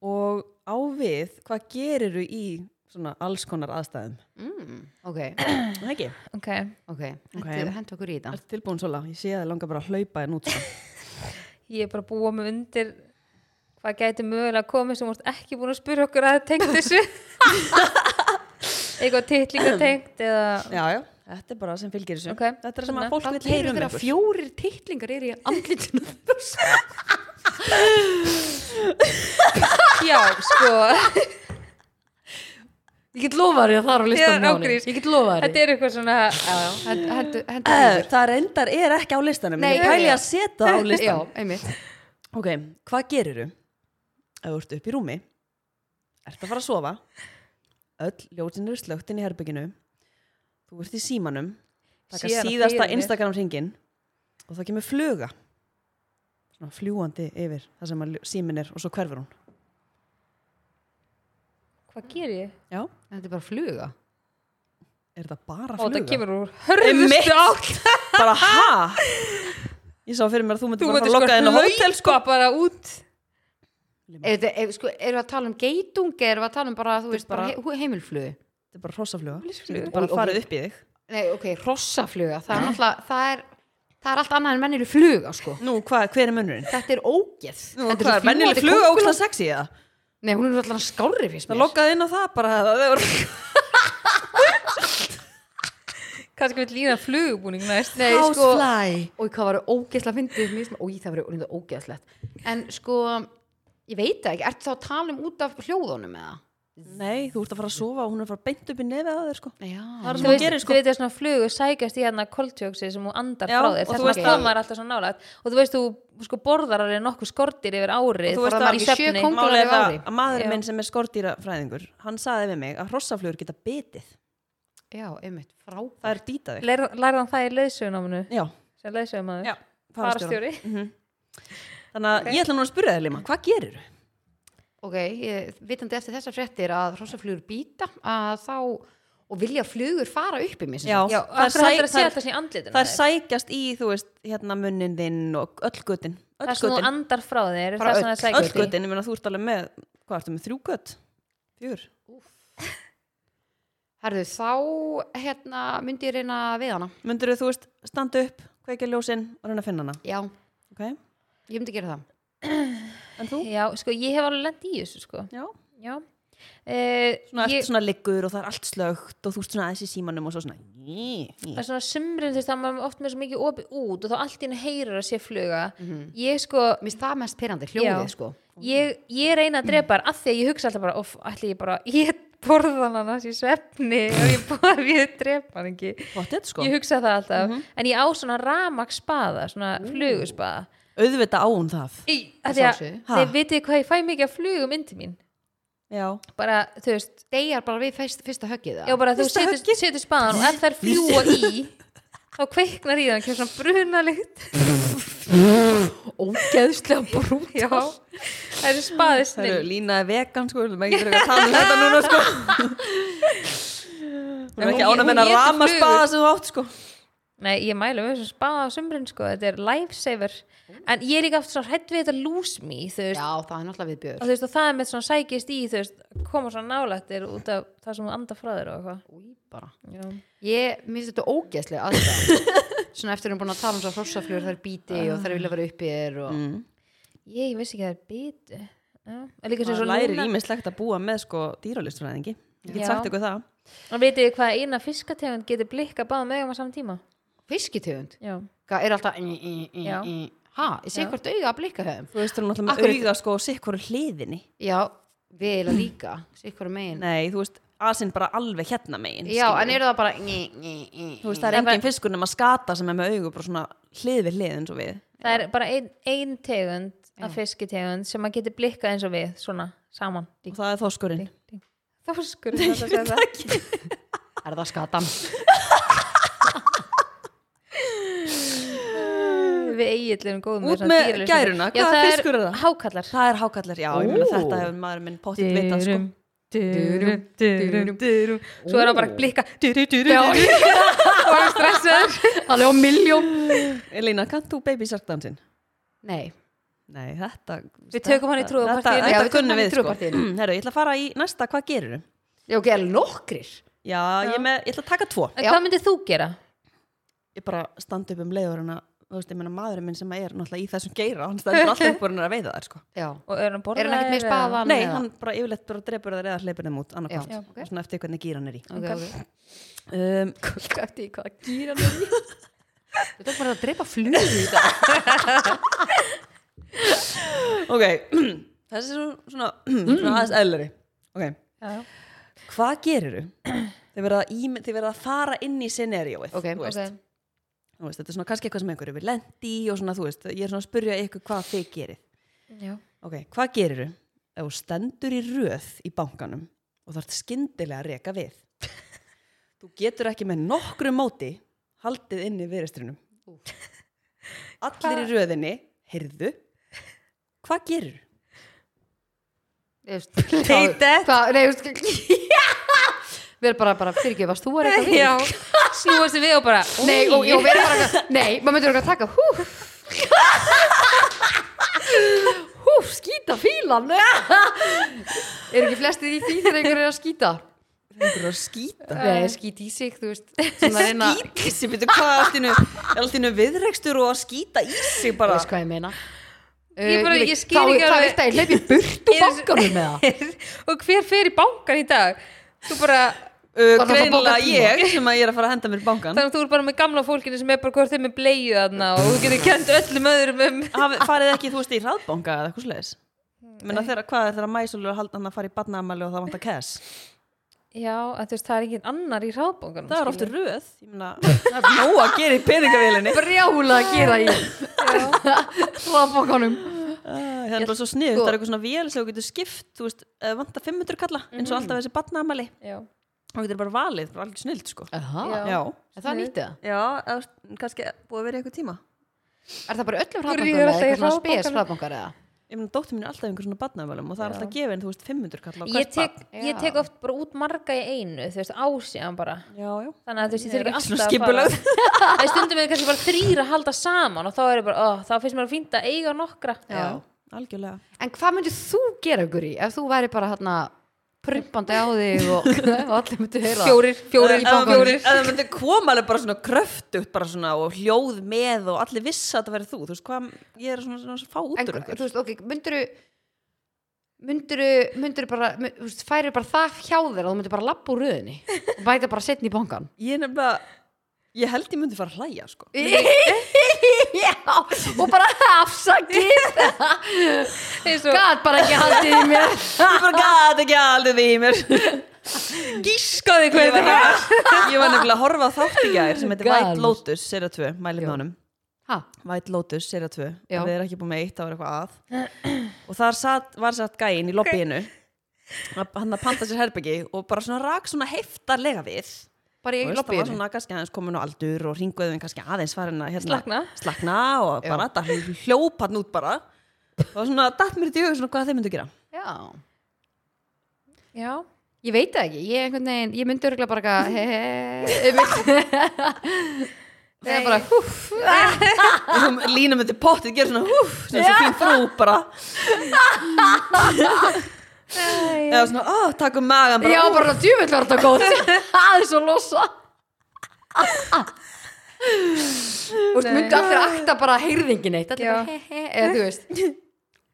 B: og á við hvað gerir í svona alls konar aðstæðum.
C: mm, Ok,
B: Er Það ekki,
A: Ok
C: ok,
B: Ok.
C: hentu hentu okkur í þetta
B: ertu tilbúin svola? Ég sé að það langar bara að hlaupa en út. sko.
A: Ég er bara að búa mig undir hvað gæti mögulega komið sem vorst ekki búin að spyrja okkur að það tengt þessu eitthvað titlinga tengt eða
B: já, já, þetta er bara sem fylgir þessu.
A: Ok.
B: Þetta er sem
A: Þannig.
B: að fólk
C: Hvað
B: vil
C: eru
B: heyra um
C: þeirra
B: ykkur.
C: fjórir titlingar eru í andlitinu
A: Já, sko
C: Ég get lofað þér að það er á
A: Já,
C: listanum hjá henni.
A: ágrís.
C: Ég get lofað
A: Þetta
C: þér
A: er eitthvað svona
C: Hentu, hentu, hentu
B: Eh,
C: yfir.
B: Það reyndar er ekki á listanum,
C: Nei,
B: en ég pæli
C: já.
B: að setja það á
C: Já,
B: listanum.
C: einmitt
B: Ok, hvað gerir þú? Ef þú ert upp í rúmi, ert að fara að sofa, öll ljótin eru slögt inn í herbygginu, þú ert í símanum, taka
A: Sé hana fyrir
B: síðasta
A: mér.
B: Instagram ringin og þá kemur fluga, svona fljúandi yfir það sem að ljó- símin er og svo hverfur hún.
A: Hvað ger ég?
B: Já,
C: Þetta er bara fluga
B: er það bara
A: Ó,
B: fluga?
A: það kemur úr
B: Einmitt.
A: hörðustu átt
B: Bara ha? Ég sá fyrir mér að þú myndir
A: Þú
B: bara fara
A: myndir
B: að lokka
A: sko
B: þenni hótel.
A: hlaupa sko. bara út
C: Er þetta- er- sko, Erum við að tala um geitungi Erum við að tala um bara, þú veist, bara
B: bara-
C: he- heimilflugu
B: Þetta er bara hrossafluga,
A: Hrossafluga.
B: sem getur bara
C: Og- og-
B: farið upp í þig.
C: Nei, ok, hrossafluga Það er alltaf, það er Það er allt annað en mennileg fluga, sko
B: Nú, hvað, hver er munurinn?
C: Þetta er ógeð
B: Nú,
C: Þetta
B: hvað,
C: svo
B: er mennileg
C: fljúgandi
B: fluga
C: kónguló.
B: ógstlega sexy eða?
C: Nei, hún er alltaf skárri fyrst
B: Það
C: mér
B: lokkaði inn á það bara að það voru
A: kannski við lína flugubúning næst
C: Nei, sko
B: Housefly.
C: Og hvað var ógeðslega fyndið mér sem- Ói, það var orðið ógeðslegt En sko, ég veit það ekki Ertu þá að tala um út af hljóðunum eða?
B: Nei, þú ert að fara að sofa og hún er að fara beint upp í nefið að þér sko
C: Já,
B: Það er
A: þú
B: sem hún
A: veist,
B: gerir,
A: sko.
B: sko.
A: þú veit að svona flugu sækjast í hérna koltjóksi sem hún andar
B: Já,
A: frá
B: og
A: þér
B: þú
A: þess
C: veist
A: að
C: að-
A: koma er alltaf svona nálægt og þú veist þú sko borðar alveg nokkuð skortir yfir árið
B: þú veist
A: bara
B: að-
A: í
C: í sjö
A: svefni.
B: Málið er
C: kóng- Kóngulær
B: það
C: í ári.
B: að maður
A: Já.
B: minn sem er skordýrafræðingur hann saði við mig að hrossaflugur geta bitið
C: já, einmitt, frábært
B: Það er dýta þig
A: Lær- lærði hann það í leðsögunáminu
B: Já,
A: sem leðsögumæður,
B: já, farastjóra
A: farastjóri
B: Þannig að ég ætla nú að spyrja þér Lima, hvað gerir þú?
C: Ok, ég, vitandi eftir þessar fréttir að hrossaflugur býta að þá og vilja flugur fara upp í mér sem sagt.
A: já,
B: það er
A: það er að sé
B: sæ-
A: alltaf sem í andlitinu
B: það er sækjast í, þú veist, hérna munnin þinn og öll götin
A: það
B: Öll
A: sem þú
B: götin,
A: andar frá þér
C: Bara
A: það sem það
B: öll
A: sækjast í
B: götin, ég meina þú ert alveg með Hvað ertu með, þrjú gött? Fjör?
C: Herðu, þá hérna, myndi ég reyna við hana.
B: Mundur þú veist, standa upp, kveikja ljósin og reyna að finna hana
C: Já,
B: okay.
C: ég myndi gera það.
B: En þú?
A: já, sko ég hef alveg lent í þessu sko
B: Já
A: já Eh,
B: svona,
A: ég-
B: ert svona liggur og það er allt slögt og þú ert svona aðeins í símanum og svo svona ný, ný.
A: það er svona sumrin þú veist það er maður oft með svo mikið opið út og þá allt í henni heyrir að sé fluga ég sko
C: Mér finnst það mest pyrrandi,
A: Já.
C: hljóðið sko.
A: ég, ég reyna að drepa þar af því að ég hugsa alltaf bara, of, allir ég bara ég borða hann annars í svefni og ég borða ég drepa hann ekki
B: What it, sko?
A: ég hugsa það alltaf, en ég á svona ramakspaða, svona fluguspaða
B: Auðvitað á hún það.
A: í, af því að
C: Sjálfsögðu.
A: þeir vitið hvað ég fæ mikið af flugum inn til mín
B: Já.
A: bara, þú veist,
C: deyjar bara við fyrst, fyrsta höggið
A: já
C: það
A: bara þú
B: Fyrsta
A: setur,
B: höggið.
A: setur spaðan og ef þær fljúa í þá kveiknar í það, kemur svona brunalikt
C: ógeðslega
A: já, það eru spaði
B: Það eru
A: snill
B: línaði vegan sko, við erum ekki verið að tala um þetta núna sko. Hún er
A: En
B: ekki
A: hún-
B: án að
A: hún
B: menna
A: étur
B: rama
A: flugur.
B: spaða sem þú átt sko.
A: nei, ég mælu um þessum spaða á sumrin sko, þetta er lifesaver en ég er líka aftur svo hrætt við þetta lose me þú veist,
C: já það er náttúrulega
A: og þú veist, og það er með svona sækist í þú veist, koma svona nálættir út af það sem þú andar frá þér og
C: viðbjör
A: eitthvað
C: ég minnst þetta ógeðslega aðstæða svona eftir að við erum búin að tala um svo hrossaflur þær bíti og þær vilja vera uppi þér og
B: Mm.
A: ég, ég vissi ekki að það er bítu en líka sem
B: Það
A: svo
B: lærir
A: núna-
B: ímislegt að búa með sko dýralistfræðingi. Ég
A: Já.
B: get sagt ykkur það.
A: og vitið þið hvað eina fiskategund getur blikka báða megum á saman tíma
C: fiskitegund
A: já
C: Hvað er alltaf í, í, í,
A: Já.
C: í. ha, ég sé hvort auga að blikka höfum
B: Þú veist, hún er
C: Akkur-
B: náttúrulega með auga sko og sikkur hliðinni.
C: já, við erum líka sé hvort megin
B: Nei, þú veist, asinn bara alveg hérna megin.
C: já,
B: skilurðu.
C: en eru það bara í, í, í,
B: Þú veist,
C: í.
B: það er
A: Nei, bara-
B: engin fiskur nema skata sem er með augu bara svona hlið við hlið eins og við.
A: það er bara ein, ein tegund af fiskitegund sem maður getur blikkað eins og við svona saman
B: Og það er þóskurinn.
A: þorskur er það að segja það.
C: er það skatan
A: við eigillum góðum
B: Út
A: svona
B: með
A: dýralausa-
B: gæruna,
A: Já,
B: hvaða
A: það
B: fiskur er það?
A: hákarlar
B: Það er hákallar, já, ég meina
C: Ó.
B: þetta hefur maður minn potið vitað sko.
A: durum, durum, durum svo er það bara að blikka durum, durum,
C: Já.
A: durum og er stressaður
C: alveg á miljón
B: sko. Elína, kannt þú Baby Shark dansinn?
C: nei,
B: Nei, þetta...
A: Við tökum hann í trúarpartíinu.
B: Þetta,
C: Já,
B: þetta
C: við tökum
B: kunnum
C: hann í
B: við sko.
C: trúarpartíinu.
B: Mm, Herru, ég ætla að fara í næsta, hvað gerir þau?
C: já, ok, er nokkrir
B: Já, ég, er með, ég ætla að taka tvo.
A: En
C: Já.
A: hvað myndir þú gera?
B: Ég bara standa upp um leiður en að, þú veist, ég meina maðurinn minn sem er náttúrulega í þessum geira, hann standur alltaf upp úr hann að veiða þær sko.
C: já,
A: Og er hann borðaður
C: er hann ekkert með
A: eða-
C: spaðan
B: Nei,
C: eða?
B: hann bara yfirleitt bara drepur þær eða hleypur þeim út, annarkvæmt,
C: Já,
B: okay.
C: ok.
B: svona eftir hvernig gýr hann er í.
C: ok, ok
B: Um,
A: Gæti í hvaða gýra hann er í.
C: Þú tók bara að dreipa flugur í dag
B: ok, þessi er svo- svona, svona aðeins eðlari. Ok,
A: Já, já.
B: hvað gerir þau? Þið verða að ímy- þið verða að fara inn í scenarióið,
C: Ok,
B: þú veist.
A: Ok.
B: Þú veist, þetta er svona kannski eitthvað sem einhverju við lendi og svona, þú veist, ég er svona að spyrja ykkur hvað þið gerir.
A: Já.
B: Ok, hvað gerir þau? Ef þú stendur í röð í bankanum og þarf skyndilega að reka við. þú getur ekki með nokkru móti haldið inn í viðristrinum. Allir í röðinni, heyrðu, hvað gerir þau?
C: Teite Hvað, nei, þú veist Við erum bara, bara fyrirgeðu, varst þú að reyka við?
A: Já. Snúa sig við og bara
C: Nei, og, og við erum bara eitthvað- Nei, maður myndir okkur að taka Hú Hú, skýta fílan Er ekki flestir í því þegar einhver er að skýta?
B: Einhverju að skýta.
C: Nei, skýti í sig, þú veist Svona að reyna
B: Skýta í sig, betur hvað er allt í einu- er allt í einu viðrekstur og að skýta í sig
C: Þú
B: bara.
C: veist hvað ég meina
A: Ég bara-
C: Uh,
A: ég
C: veit-
A: skil
C: hvað-
A: ekki
C: Hvað
A: alveg-
C: vilt að ég hleypi burt úr
A: Ég er svo-
C: bankanum með það?
A: og hver fer í bankan í dag þú bara,
B: Uh,
C: Bara það
B: greinilega
C: bókað tíma.
B: ég sem að ég er að fara að henda mér í bankan.
A: þannig að þú er bara með gamla fólkinu sem er bara hvort þeim er bleið þarna og þú getur kent öllum öðrum um
B: hafi, farið ekki, þú veist, í hraðbanka eða eitthvað sliðis menna þeirra, hvað er þeirra mæsulur að halda hann að fara í badnaamæli og það vantar cash
A: já, að þú veist, það er enginn annar í sko. ráðbankan
B: það er ofta röð, ég meina það er nóg að gera í peningavílinni
C: Brjála að gera í Ráðbókanum
B: það er bara svo snið, það er eitthvað svona vél sem þú getur skipt, þú veist, ef þig vantar 500 kalla eins og alltaf þessi badnaamæli
A: já,
B: þá getur bara valið, bara alveg snild sko
A: Já.
C: Er
B: já,
C: það nýttið?
B: já eða, kannski búið að vera í eitthvað tíma
C: Er það bara öllum
A: ríður
C: hraðbankum
A: alltaf í
C: eða eitthvað svona spes
A: hraðbankanum.
C: hraðbankar eða?
B: ég meina, dóttir mín er alltaf í einhver svona badnaamælum og það er alltaf gefin, þú veist, 500 kalla á
A: ég
B: hvert
A: tek,
B: barn.
A: ég tek oft bara út marga í einu þú veist, ásíðan bara
B: já, já,
A: þannig að þú veist, ég
B: Ég er
A: þurfi ekki
B: ekki svona
A: alltaf að fara það er stundum við kannski bara þrýra að halda saman og þá er ég bara, ó, þá finnst mér að fínt að eiga nokkra
B: já, algjörlega
C: En hvað myndir þú gera ykkur í ef þú væri bara hérna prumpandi á þig og, og allir myndir heyra?
A: fjórir, fjórir,
B: Ef það myndi-
A: fjórir
B: ef það myndi koma alveg bara svona kröftugt bara svona og hljóð með og allir vissi að það verið þú þú veist hvað, ég er svona, svona, svona fá út
C: En
B: úr
C: þú
B: ykkur
C: veist, ok, myndir myndir myndir bara, mynd- þú veist, færir bara það hjá þér að þú myndir bara lappa úr röðinni og bæta bara setni í bankan
B: ég er nefnilega, ég held ég myndi fara að hlæja sko
C: Myndirðu- já, og bara afsakið
A: eins og
C: gat bara ekki haldið í mér
B: Ég bara gæti ekki aldrei því í mér
A: gískaði
B: Ég
A: hvað
B: var
A: þetta var
B: nefnilega- ég var nefnilega að horfa á þátt í gær sem heitir
C: Gal.
B: White Lotus, serið 2, mælið með
C: Já.
B: honum
C: ha,
B: White Lotus, serið 2
C: Já.
B: Ef þið er ekki búin með eitt, þá er eitthvað að Og þar sat, var satt gæinn í lobbyinu Hann að panta sér herbyggi Og bara svona rak svona heftarlega við
C: bara
B: Þú
C: í
B: veist, Það var
C: lobbyinu
B: svona kannski aðeins komin á aldur Og ringuðum kannski aðeins farin að hérna,
A: Slakna.
B: slakna Og
C: Já.
B: bara, það hljópan út bara Og svona, datt mér þetta í hug svona hvað þeir myndu gera
C: já,
A: já,
C: ég veit það ekki ég, einhvern veginn, ég myndi örgulega bara eitthvað, he he he það er bara húf
B: Lína myndi pottið gera svona húf Svona svo fín frú bara Eða svona, ó, takk um magan bara,
C: já,
B: "Ú,
C: bara djúvill var þetta góð aðeins og losa Þú veist,
A: Nei.
C: myndu allir akta bara heyrðingin eitt, allir
A: Já.
C: bara he he, eða þú veist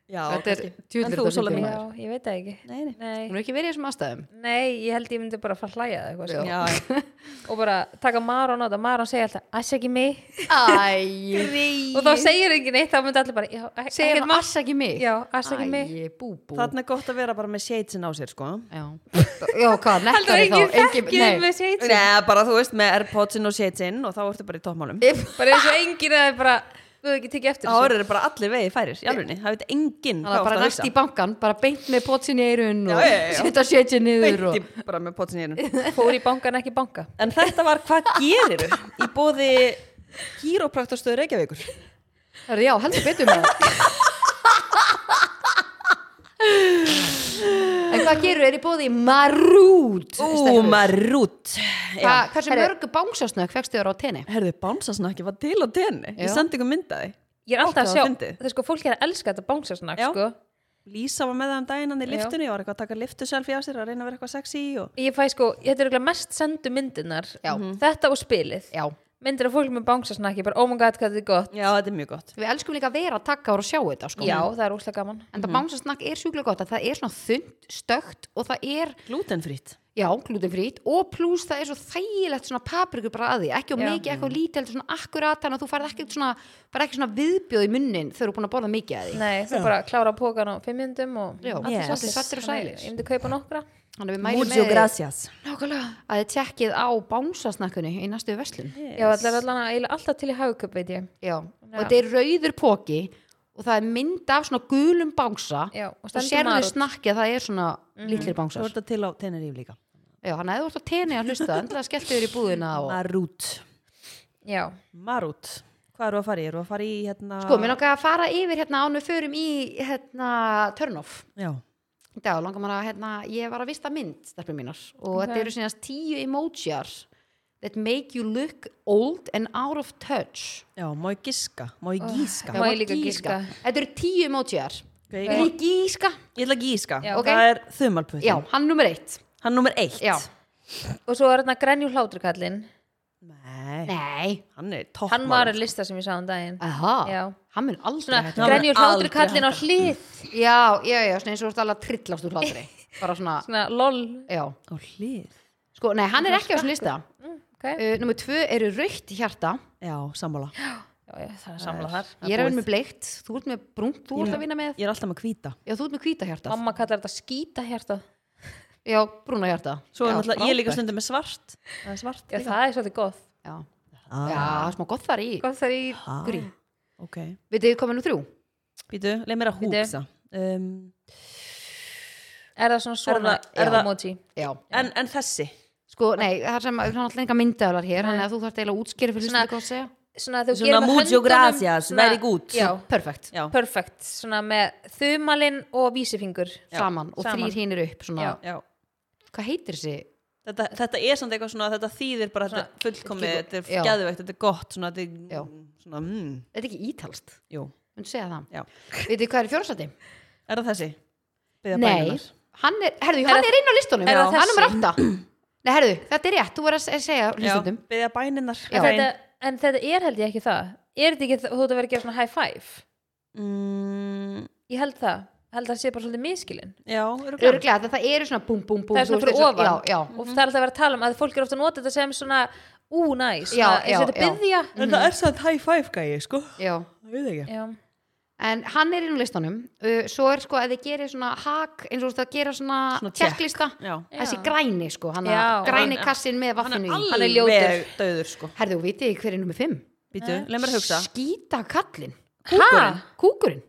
B: já,
C: þetta er
B: kannski.
C: djúvill
B: En
C: er
B: þú,
C: þetta
B: Sola mín.
C: fyndið
A: já, ég veit það ekki
B: Nei, nei.
A: nei,
C: hún er ekki verið í þessum aðstæðum
A: nei, ég held ég myndi bara að fara að hlæja eða eitthvað, sko.
B: Já, já.
A: og bara taka Maron á þetta Maron segja alltaf, aðsæki mig
C: æj,
A: og þá segir ekki neitt, þá myndi allir bara já, e-
C: segir
A: ekkert
C: hann ass ekki mig
A: Já, afsakið mig.
C: æj, bú bú
B: Þarna er gott að vera bara með shades á sér, sko
C: já, já
A: Heldur
C: hvað, nettari þá
A: enginn þekkið
C: nei.
A: með seitt
B: Nei, bara þú veist, með Airpodsinn og shadesin og þá ertu bara í toppmálum
A: bara eins og enginn að bara þú hefur ekki tekið eftir
B: Þá
A: þessu
B: eru bara allir vegið færir, í alvegni Það veit enginn
C: Þannig að bara
B: varst
C: næst í bankan, bara beint með potsin í eirun
B: Já,
C: og
B: já, já, já.
C: setja sétið niður og...
B: Beint í- bara með potsin í einu
A: fór í bankan ekki banka
B: En þetta var hvað gerir í bóði kýrópraktastöður Reykjavíkur
C: Herra, Já, heldur betur með það En hvað gerur, er í bóði marút?
B: Ú, maður rút
C: Hva, hversu mörgu bánsasnökk fegstu þér á tenni?
B: Herðu, bánsasnakki var til á tenni Ég
C: Já.
B: sendi ykkur myndaði
A: ég er alltaf að
B: Ókei, það
A: sjá,
B: var fyndið.
A: það er sko fólk er að elska þetta bánsasnak
B: Já.
A: sko.
B: Lísa var með það um daginn hann í
A: Já.
B: liftunni Ég var eitthvað að taka liftuselfi á sér að reyna að vera eitthvað sexy og...
A: ég fæ sko, þetta er örugglega mest sendu myndirnar Mhm.
C: Já. Mhm.
A: þetta og spilið
C: Já,
A: myndir af fólk með bánsasnakki, bara oh my god hvað þetta er gott
B: Já, þetta er mjög gott
C: við elskum líka að vera að taka og sjá þetta sko.
A: já, Mhm. það er úslega gaman
C: En það bánsasnakk er sjúklega gott að það er svona þund, stökt og það er,
B: Glútenfrýtt
C: já, glútenfrít og pluss það er svo þægilegt svona paprikur bara að því, ekki og
A: Já.
C: mikið, ekki og lítið heldur svona akkurat, þannig að þú farið ekki svona, bara ekki svona viðbjóð í munnin þegar þú er búin að borða mikið að því
A: nei, það er bara að klára pókan á fimm myndum og
C: Já,
A: allir
B: Yes.
A: sáttir.
C: allir svartir og
A: Þannig,
C: sælir.
A: ég myndi kaupa nokkra
C: Þannig að við mælum
B: Múlsjó
C: með því
B: gracias
C: Nákvæmlega. að þið tjekkið á bánsasnakkunni í næstu verslun
A: já, það er allan að eiginlega alltaf til í hagköp veit ég
C: Já. og þetta er rauður póki og það er mynd af svona gulum bánsa
A: Já, og
C: og
A: stendur Mhm.
C: sérðu
A: marút.
C: snakkið að það er svona
B: Svo
C: litlir bánsar
B: er þetta til á Teneríf líka
C: Já, hann hefði vort að teni að hlusta endilega skelltu þér í búðina og...
B: Marút
A: já,
B: Marút Hvað eru að fara í? Eru að fara í hérna
C: sko, mér langar að fara yfir hérna án við förum í hérna turn-off
B: Já
C: í dag langar maður að hérna, ég var að vista mynd stelpur mínar og þetta eru síðan tíu emojiar that make you look old and out of touch
B: Já, má ég giska, má
C: Ah,
B: ég gíska
A: Já. Má ég líka gíska?
C: Þetta eru tíu emojiar
B: okay,
C: Vil
B: ég,
C: ég gíska?
B: ég ætla að gíska
A: Já.
C: Ok.
B: Það er þumalputin
C: Já, hann er nummer eitt
B: Hann nummer eitt
C: Já.
A: og svo er þarna grenjú hláturkallin
B: Nei,
C: Nei
B: hann er toppmál
A: hann var að lista sem ég sá um daginn
B: Ah.
C: Aha,
A: Já.
C: hann mun aldrei
A: svona
C: hætta
B: Hann
A: grenjur
B: mun
A: hlátur
B: aldrei
A: kallin á hlið
C: Já, já, já, svona eins og þú ert alveg að trillast úr hlátri Bara svona,
A: svona lol
C: já
B: Á hlið
C: Sko, nei, hann er ekki á þessum lista
A: mm, okay.
C: uh, Númer tvö eru raukt hjarta
B: Já, sammála
A: já, já, það er að samla þar
C: Ég er að vinna með bleikt, þú ert með brúnt, þú ert að vinna með
B: Ég er alltaf með hvíta
C: Já, þú ert með hvíta hjarta
A: mamma kallar þetta skýta hjarta
C: Já, brúna hjarta
B: Svo er
C: já,
B: náttúrulega, ég er líka
C: frábært.
B: stundum með svart Það er svart
A: já, það er svolítið gott
C: Já,
B: Ah.
C: já smá gott þar í
A: gott þar í
B: Ah,
A: grí
B: Ok,
C: Við þið komið nú þrjú
B: býtu, leið mér að
A: Bíddu.
B: húksa um,
A: er það svona svona
B: Er það- er það-
A: emoji
C: Já,
B: en, en þessi
C: sko, nei, það er sem hann alltaf enga myndaðlar hér Þannig að þú þarft eiginlega að útskýra fyrir
A: Svona-
C: hlustandi hvað að segja
A: svona þú
B: Svona
A: gerir með
B: mucho
A: höndunum,
B: gracias,
A: svona-
B: very good.
A: já,
C: Perfekt,
B: Já,
A: perfect, svona með þumalinn og vísifingur
C: saman og
A: saman.
C: þrýr hinir upp svona,
A: Já.
B: já
C: Hvað heitir þessi?
B: Þetta, þetta er samt eitthvað svona, þetta þýðir bara þetta er fullkomið,
C: Fullkomið,
B: þetta
C: já.
B: er geðveikt, þetta er gott, svona, þetta
C: Já.
B: er, svona, mm,
C: Þetta er ekki ítalst
B: jú,
C: Mun segja það.
B: já.
C: Vitið þið hvað er í fjórastæti?
B: Er það þessi? Biðja
C: Nei,
B: bænunar.
C: hann er, herðu, hann er inn á listunum.
A: er það
C: hann er
A: þessi?
C: nummer átta. Nei, herðu, þetta er rétt, þú verður að se- segja hlustundum.
B: Já, biðja bænunar.
C: Já.
A: en þetta, en þetta er held ég ekki það er þetta ekki þú þú ert að vera að gera svona high five
B: Mm,
A: ég held það, held að það sé bara svolítið miskilinn
B: já, eru glæð.
C: Öruglega, það, það eru svona búm, búm, búm.
A: það er
C: þú
A: svona
C: veist,
A: fyrir
C: eins og-
A: ofan
C: Já, já.
A: og það er alltaf að vera að tala um að fólk er ofta að nota þetta sem svona ú, næs,
C: Já,
A: svona,
C: já,
A: eins og þetta
C: já.
A: byðja
B: En það er samt high five gæi, sko.
C: já.
B: Það veit ekki.
A: já,
C: En hann er inn á listanum uh, Svo er sko að þið gerir svona hak eins og þú veist að gera svona,
B: Svona
C: svona
B: tékk.
C: tjekklista
B: Já.
C: Þessi græni sko, hann
A: Já.
C: græni kassin með vaffinu í
A: er ljótur.
B: döður, sko.
C: Herðu, vitið þið hver er nummer 5?
B: Býtu, leið mér að hugsa.
C: Skýta kallin
A: Kúkurinn?
C: Kúkurinn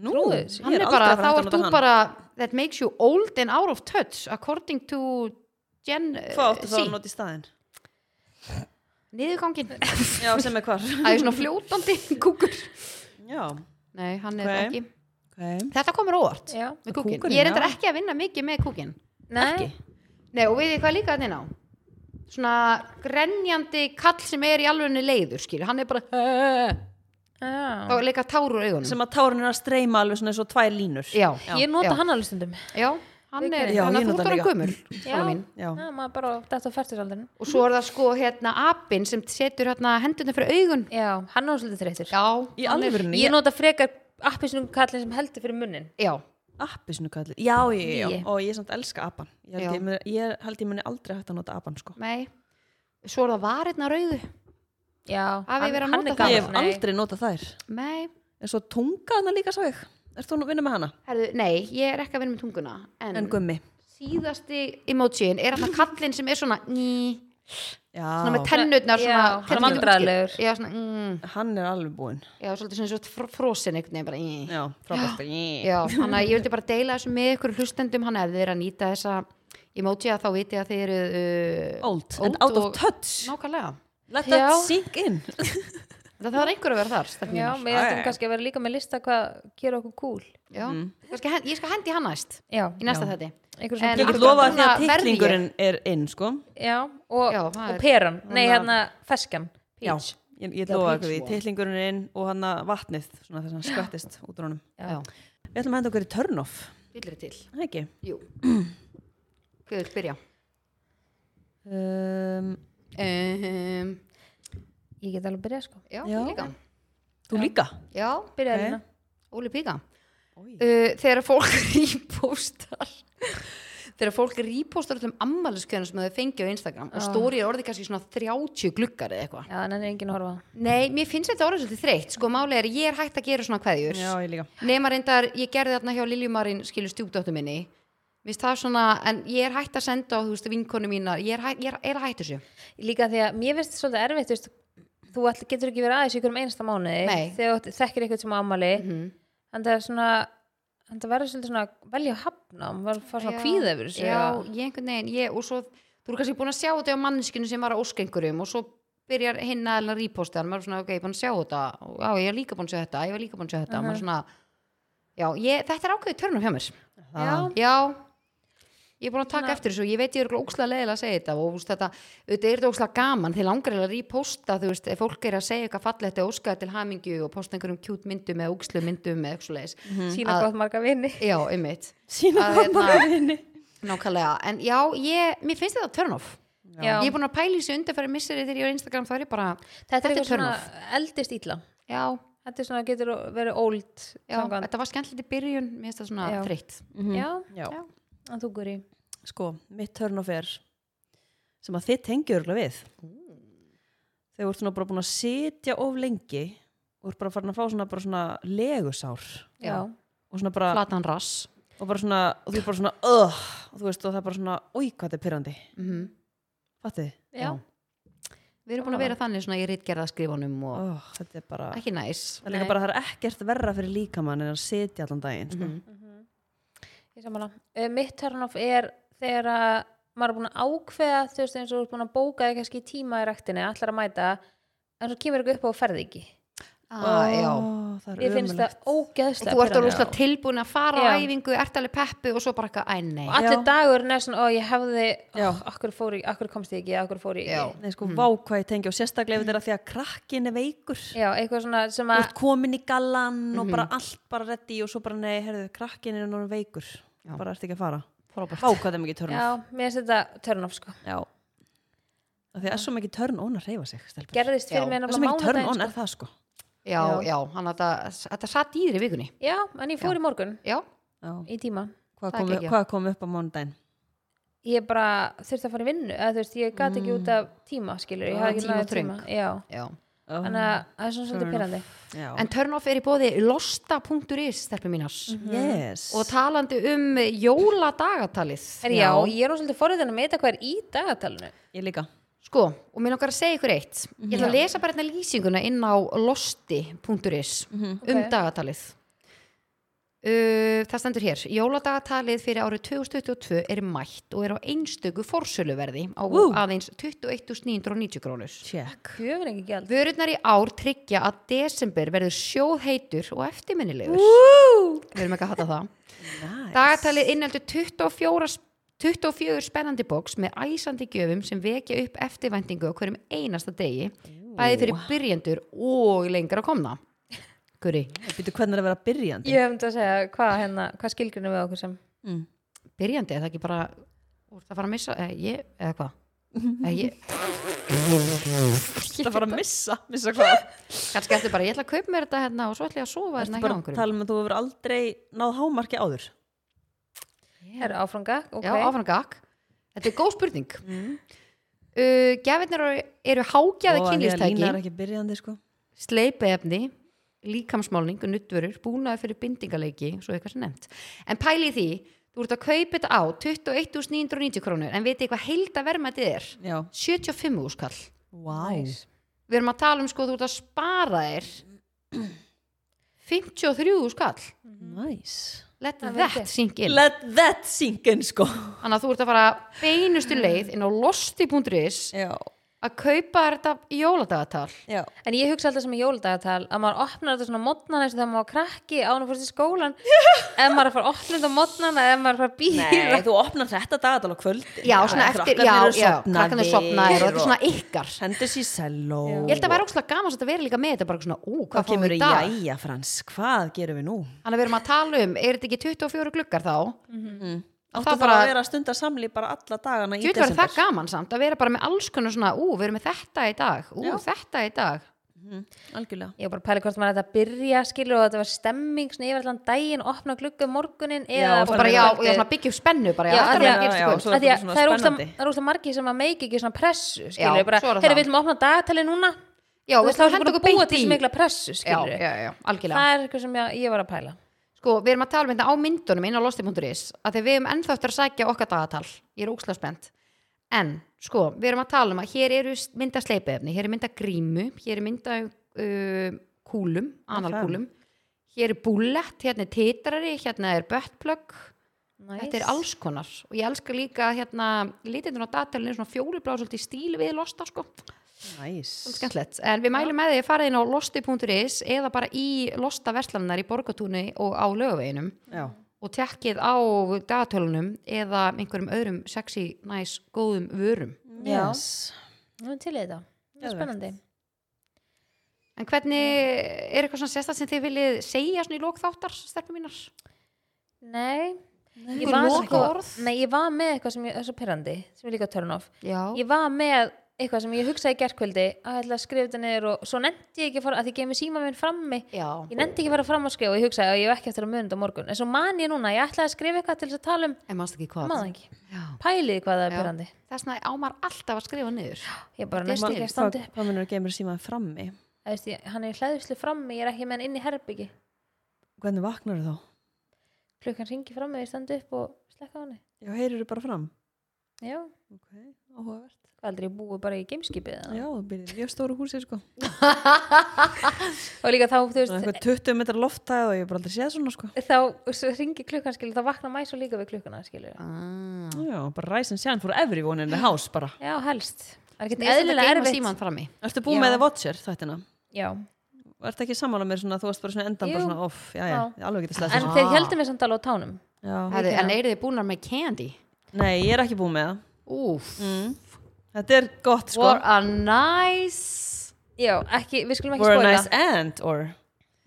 B: Nú,
A: Trúðu þessu.
C: Hann
B: ég
C: er
B: aldrei
C: bara,
B: að fara
C: þá
B: að
C: ert
B: nota
C: þú
B: hann.
C: bara That makes you old and out of touch According to Gen uh,
B: Hvað áttu þá
C: Z.
B: að nota í staðinn?
C: Niðurgangin
B: Já, sem er hvar.
C: Það er svona fljótandi kúkur
B: Já.
C: Nei, hann er
B: Ok.
C: ekki
B: Okay.
C: Þetta komur óvart
A: já
C: með kúkin.
B: Kúkurinn,
C: Ég er endur
B: já.
C: ekki að vinna mikið með kúkin
A: Nei,
C: Nei, og veiðið hvað er líka þetta á? Svona grenjandi kall sem er í alvegni leiður, skilur, hann er bara þá
A: já.
C: er líka tár úr augunum
B: Sem að tárin er að streyma alveg svona eins og tvær línur.
C: Já,
A: ég nota
C: já.
A: hann alveg stundum
C: Já, hann er,
B: Já, ég
C: hann er
B: nota
C: þúttur hann
B: líka.
C: gömul svona mín.
B: Já.
A: Já, maður bara þetta á færtisaldurinn
C: Og svo er það sko hérna apinn sem setur hérna hendurna fyrir augun
A: Já, hann er svolítið þreytur
C: Já,
B: Í
C: hann er-
B: alvörunni?
A: Ég nota frekar appisnum kallin sem heldur fyrir munnin
C: Já,
B: Appisnu kallið. Já, já, já, já.
A: Nýi.
B: Og ég samt elska apan. Ég held
C: Já.
B: ég, mun- ég, held ég muni aldrei hægt að nota apan, sko.
C: nei Svo er það varirna rauðu
A: Já,
C: Hafi verið að nota
B: Ég
C: það?
A: gamall,
B: hef
A: nei.
B: aldrei notað þær.
C: Nei,
B: En svo tunga hana líka sá ég. Erst þú að vinna með hana?
C: herðu, nei, ég er ekki að vinna með tunguna En,
B: En gummi.
C: síðasti emojiin er hérna kallinn sem er svona ný,
B: Já.
C: svona með tennutnar
A: Já,
C: svona
A: hann er
C: tennurnar útskýr-
A: vandræðalegur.
C: Já, svona mm,
B: Hann er alveg búinn.
C: Já, svolítið svona svo fr- frosin einhvern veginn bara í.
B: Já, frábært. Já.
C: Já, þannig að ég vildi bara deila þessu með ykkur hlustendum hann ef þið eru að nýta þessa emoji að þá viti að þið eru uh,
B: Old and out of
C: og-
B: touch.
C: Nákvæmlega
B: Let
A: Já.
B: that sink in.
C: Það þarf einhver að vera þar, stefnir
A: Já,
C: mínar
A: við ættum
B: Æ.
A: kannski að vera líka með lista hvað gera okkur cool
C: Já, kannski hen- Ég skal hendi hann næst
A: Já,
C: í næsta þætti
A: einhver
C: En-
A: svona
B: Ég get
C: Akkurat,
B: lofa því að
C: núna verð ég.
B: titlingurinn er inn, sko.
A: Já, og,
C: Já, það
A: og
C: er-
A: peran Nei, hérna feskjan
B: Já,
A: Peach.
B: ég, ég
C: Já,
B: lofa
C: peach
B: því.
C: one.
B: Titlingurinn er inn og hann vatnið, svona þess að hann skvettist út úr honum.
C: Já,
B: Við ætlum að henda okkur í turn-off.
C: villir til
B: Það ekki?
C: Jú Hvað vil byrja?
B: Um,
C: Um,
A: Ég get alveg byrjað sko
C: já,
B: Já.
C: já, líka
B: þú líka?
C: Já,
A: Byrjaði
B: Ok.
A: hérna
C: Óli Píka
B: Oj.
C: uh, þegar fólk repostar þegar fólk repostar öllum ammæliskjöðunum sem þau fengið á Instagram og stóri er orðið kannski svona 30 gluggar eða eitthvað
A: Já, en hann er enginn að horfa á það.
C: Nei, mér finnst þetta orðið svolítið þreytt sko máli er að ég er hægt að gera svona kveðjur
B: Já, ég líka.
C: nema reyndar, ég gerði þarna hjá Liljumarin skilur stjúpdóttu minni Mér finnst það svona, en ég er hægt að senda á þú veist vinkonu mínar, ég er, hæ, ég er, er að hættu sér
A: Líka því að mér finnst svolítið erfitt þú veist, Þú all, getur ekki verið aðeins í hverjum einasta mánuði
C: Nei.
A: Þegar þú þekkir eitthvað sem á ammali
C: Mhm.
A: En það er svona En það verður svolítið svona velja að hafna og maður fara svona kvíða yfir þessu
C: Já,
A: eða-
C: ég einhvern veginn, ég, og svo þú eru kannski búin að sjá þetta á manneskinu sem var að óska einhverjum og svo byrjar hinn aðeins að ríposta hann, maður er svona, ok, ég er búin að sjá þetta og, já, ég er líka búin að sjá þetta, ég var líka búin að sjá þetta maður er svona, já, ég, þetta er ákveðið törnum hjá mér,
A: Já.
C: já ég er búin að taka eftir þessu, ég veit ég er ókslega leiðilega að segja þetta og þú veist, þetta, þetta er þetta ókslega gaman, þið langar eiginlega að ríposta þú veist, ef fólk er að segja eitthvað fallegt og óskaða til hamingju og posta einhverjum kjút myndum eða ókslu myndum eða eitthvað leis
A: Mm. Sýna
C: Að-
A: gott marga vini
C: já, einmitt
B: Sýna
C: Að,
B: hvað
C: hérna,
B: maður inni.
C: Nákvæmlega, en já, ég, mér finnst þetta turn off
A: Já.
C: Ég er búin að pæla í þessu undanfæri misseri þegar ég er á Instagram þá er ég bara,
A: Þetta er
C: Þetta er
A: eitthvað svona
C: turn-off.
A: eldist ítla
C: já,
A: Þetta er svona getur verið old
C: já
A: samkvæmt.
C: þetta var skemmtilegt í byrjun, mér finnst það svona
A: Já.
C: þreytt
A: Já,
B: Já.
C: Já.
A: en þú guri
B: Mhm. Sko, mitt turn-off er sem að þið tengjur örgulega við. Þegar þú ert svona bara búin að sitja of lengi og ert bara farin að fá svona, bara svona legusár
A: Já,
C: Já.
B: og svona bara
C: Flatan rass
B: og bara svona, og þú er bara svona uh, og þú veist, og það er bara svona, oi hvað þetta er pyrrandi fattið,
A: já.
C: Mhm. Við erum búin að vera þannig svona í rítgerða skrifunum og
B: oh, þetta er bara
C: ekki næs
B: það er líka bara, það er ekkert verra fyrir líkamann en að sitja allan daginn
A: Mhm.
B: sko.
A: Ég sammála. Uh, mitt turn-off er þegar að maður er búin að ákveða þú veist eins og þú er búin að bóka þig kannski tíma í rektinni, allar að mæta en svo kemur eitthvað upp á og ferði ekki
C: ah, Já
B: Ó, það er
A: Ég finnst það
B: ömurlegt.
C: Og
A: ógeðslega
C: þú ert
A: pirrandi.
C: alveg slá tilbúin að fara á
A: Já.
C: æfingu, ert alveg peppu og svo bara eitthvað, æ nei
A: og allir
B: Já.
A: dagur er svona, ó ég hefði
B: Já.
A: ó, akkur, fór, ég- akkur komst ég ekki, akkur fór ég ekki
C: Já.
B: Nei, sko, vá hvað ég tengi og sérstaklega ef þetta er að því að krakkin er veikur
A: já, eitthvað svona sem
B: þú
A: að
B: ert komin í galan og bara allt bara reddi og svo bara nei, herðu, krakkin er núna veikur bara ert ekki að fara
C: Frábært.
B: vá hvað það er mikið törn
A: já, mér finnst þetta turn-off sko
B: já. Af því að það er svo mikið törn ón að reyfa sig stelpur.
A: gerðist
C: Já.
A: fyrir mér
B: það er svo
A: nefnilega
B: mikið törn ón
A: mánudaginn sko.
B: er það sko
C: Já, já, hann að þetta- þetta satt í þér í vikunni
A: já, en ég fór í morgun
C: Já,
B: já.
A: í tíma
B: sko. Hvað
C: Það
B: kom,
C: gekk, já.
B: hvað kom upp á mánudaginn?
A: ég bara þurfti að fara í vinnu eða þú veist, ég gat ekki út af tíma skilur, ég
C: Já,
A: hafði ekki
C: tíma
A: náð
C: þröng.
A: tíma já,
C: Já.
A: þannig að það er svona svolítið pyrrandi
B: Já.
C: En turn off er í bóði losta.is stelpum mínars
A: Mhm.
B: yes.
C: og talandi um jóladagatalið
A: en já, ég er nú svolítið forðin að meita hvað er í dagatalinu
B: Ég líka.
C: Sko, og mér langar að segja ykkur eitt Ég ætla að lesa bara hérna lýsinguna inn á losti.is um
A: Mhm. Ok.
C: dagatalið uh, Það stendur hér Jóladagatalið fyrir árið 2022 er mætt og er á einstöku forsöluverði á
B: Vú.
C: aðeins 21.990 krónur
B: Check.
A: gjöfur ekki gæld
C: Vörurnar í ár tryggja að desember verður sjóðheitur og eftirminnilegur Við erum ekki að hata það
B: Nice.
C: Dagatalið inneldur 24, sp- 24 spennandi bóks með æsandi gjöfum sem vekja upp eftirvæntingu á hverjum einasta degi bæði fyrir byrjendur og lengra komna Guri,
B: Býtu hvernig er að vera byrjandi?
A: ég hef um til að segja hvað hérna, hvað skilgrunum við okkur sem
B: Mm.
C: byrjandi er það ekki bara úr það fara að missa, eða ég, eða hvað Eða ég,
B: Það er bara að missa, missa hvað?
C: kannski eftir bara, ég ætla að kaupa mér þetta hérna og svo ætla ég að sofa
B: Ertu
C: hérna hjá
B: bara að
C: einhverjum
B: tala um að þú hefur aldrei náð hámarki áður?
A: er áfranga, ok
C: Já, áfram gakk. Þetta er góð spurning uh, Gjafirnar eru, eru hágjaði
B: Og Mm. að því að
C: kynlýstæki
B: Lína er ekki byrjandi, sko.
C: sleipeefni, líkamsmálning og nuttvörur, búnaði fyrir bindingaleiki svo eitthvað sem nefnt. En pæli í því þú ert að kaupa þetta á 21.990 krónur en veitir hvað heilda vermaðið er?
B: Já.
C: 75 úrskall.
B: Wow.
A: Nice.
C: Við erum að tala um sko þú ert að spara þér 53 úrskall.
B: Nice.
C: Let
A: Það veit
C: that
A: ég.
C: sink in.
B: Let that sink in, sko.
C: Þannig að þú ert að fara beinustu leið inn á losti.is
B: Já.
C: að kaupa þér þetta í jóladagatal.
B: Já.
A: En ég hugsa alltaf sem í jóladagatal að maður opnar þetta svona mótnana eins og þegar maður var krakki án og fórst í skólan ef maður er að fara að opna þetta mótnana ef maður er að fara að býra
B: Nei, þú opnar þetta dagatala kvöldi.
C: Já, svona eftir, já, já, krakkan er sopnaðir og þetta er svona ykkar.
B: Hendur sér selló.
C: Ég held að vera ógslag gaman að vera líka með þetta bara svona, ú,
B: Hvað
C: hvað fáum
B: kemur
C: við í
B: í
C: dag?
B: jæja, Frans? Hvað gerum við nú?
C: Þannig að við erum að tala um, er þetta ekki 24 gluggar þá? Mm
B: Áttu
C: Það
B: það
C: bara-
B: að vera að stunda samlí bara alla dagana í
C: Jú, var það
B: desember?
C: gaman samt að vera bara með alls konar svona, ú, við erum með þetta í dag, ú, þetta í dag.
B: Mhm, Algjörlega.
A: Ég var bara að pæla hvort maður ætti að byrja skilur og þetta var stemming svona yfir allan daginn opna glugga um morgunin eða
B: og
C: Og bara já, og
A: kvöldið.
C: já, svona byggja upp spennu bara, já,
A: eh, Já,
C: þetta
A: af því að-
C: er að gerist í
B: já,
C: kvöld.
B: svo-
A: Af því að
B: svona
A: það er ósla,
B: spennandi.
A: það er ósla margir sem að meiki ekki svona pressu
C: Já,
A: skilur já, bara,
C: svo er það.
A: heyrðu, við viljum opna dagatali núna
C: Já,
A: Þú
C: við
A: veist,
C: ætlum
A: þá ertu
C: að henda
A: búin
C: okkur
A: að búa
C: beint
A: til
C: í.
A: þessu mikla pressu
C: Já,
A: skilur
C: já, já, algjörlega.
A: það er eitthvað sem ég, ég var að pæla
C: Sko, við erum að tala um þetta á myndunum inn á losti.is að þegar við erum ennþá eftir að sækja okkar dagatal ég er ókslega spennt en, sko, við erum að tala um að hér eru s- mynda sleipiðefni, hér er mynda grímu hér er mynda uh, kúlum analkúlum, hér er búlett hérna er titrari, hérna er böttplögg,
A: nice.
C: þetta er alls konar og ég elska líka hérna litindur á datalinu svona fjólublá svolítið í stíl við losta, sko,
B: Næs.
C: Svolítið skemmtilegt en við mælum með því að fara inn á losti.is eða bara í losta verslanar í borgatúni og á lögaveginum
B: Já.
C: og tekkið á dagatölunum eða einhverjum öðrum sexy, næs, nice, góðum vörum
A: Já.
B: Yes.
A: Nú er til í þetta, það er
B: Geðvegt.
A: spennandi
C: En hvernig er eitthvað svona sérstætt sem þið viljið segja svona í lókþáttar, stelpum mínar?
A: Nei, ég
C: Einhver
A: var,
C: lokaorð?
A: sko, nei, ég var með eitthvað sem ég, þessu perrandi, sem er líka turn off
C: Já.
A: ég var með eitthvað sem ég hugsaði í gerkvöldi að ég ætla að skrifa þetta niður og svo nefndi ég ekki að fara, að ég geði með síma minn frammi
C: Já.
A: ég nefndi ekki að fara fram að skrifa og ég hugsaði að ég hef ekki eftir að muni þetta á morgun en svo man ég núna, ég ætlaði að skrifa eitthvað til þess að tala um
C: En mannst ekki hvað?
A: maður ekki,
C: Já.
A: pæliði hvað það er
C: Já.
A: perrandi
C: Þess vegna ámar alltaf að skrifa niður.
A: ég bara
C: Þetta er
A: næst ekki
C: sniðugt.
A: að standa upp
B: Hvað munur að geymur símaðan frammi?
A: Þú veist, ég- hann er hlæðislu frammi, ég er ekki með hann inn í herbyggi
B: Hvernig vaknar þú þá?
A: klukkan ringi frammi, ég standa upp og slekka á hann
B: Já, heyrir þú bara fram?
A: já,
B: Ok, áhugavert.
A: hvað aldrei ég búi bara í gameskipið
B: Já, þú byrðir mjög stóru húsi, sko.
A: og líka þá, þú
B: Það
A: veist,
B: er eitthvað 20 metrar loftæð og ég hef bara aldrei séð svona, sko.
A: þá svo ringi klukkan skilur, þá vakna mæs og líka við klukkuna skilur
C: Ah.
B: Já, bara ræsin sjæn fór every one in the house, bara.
A: já, helst, það er
C: Ég
A: ekki
C: ætla að
A: eðlilega
C: geyma
A: erfitt
C: símann frammi.
B: Ertu búin
A: Já.
B: með The Watcher, þættina?
A: já,
B: Ertu ekki sammála mér svona, þú varst bara svona endan, bara
A: Jú.
B: svona off, já, já,
A: Já.
B: ég alveg getið
A: en
B: slæðið.
A: þeir heldum við samt alveg á tánum
B: Já,
C: Herðu, en eru þið búnar með candy?
B: nei, ég er ekki búin með það.
C: Úf.
A: Mm.
B: Þetta er gott, Mm. sko.
C: What a nice...
A: já, ekki, við skulum ekki
B: We're a
A: spóla
B: nice end, or...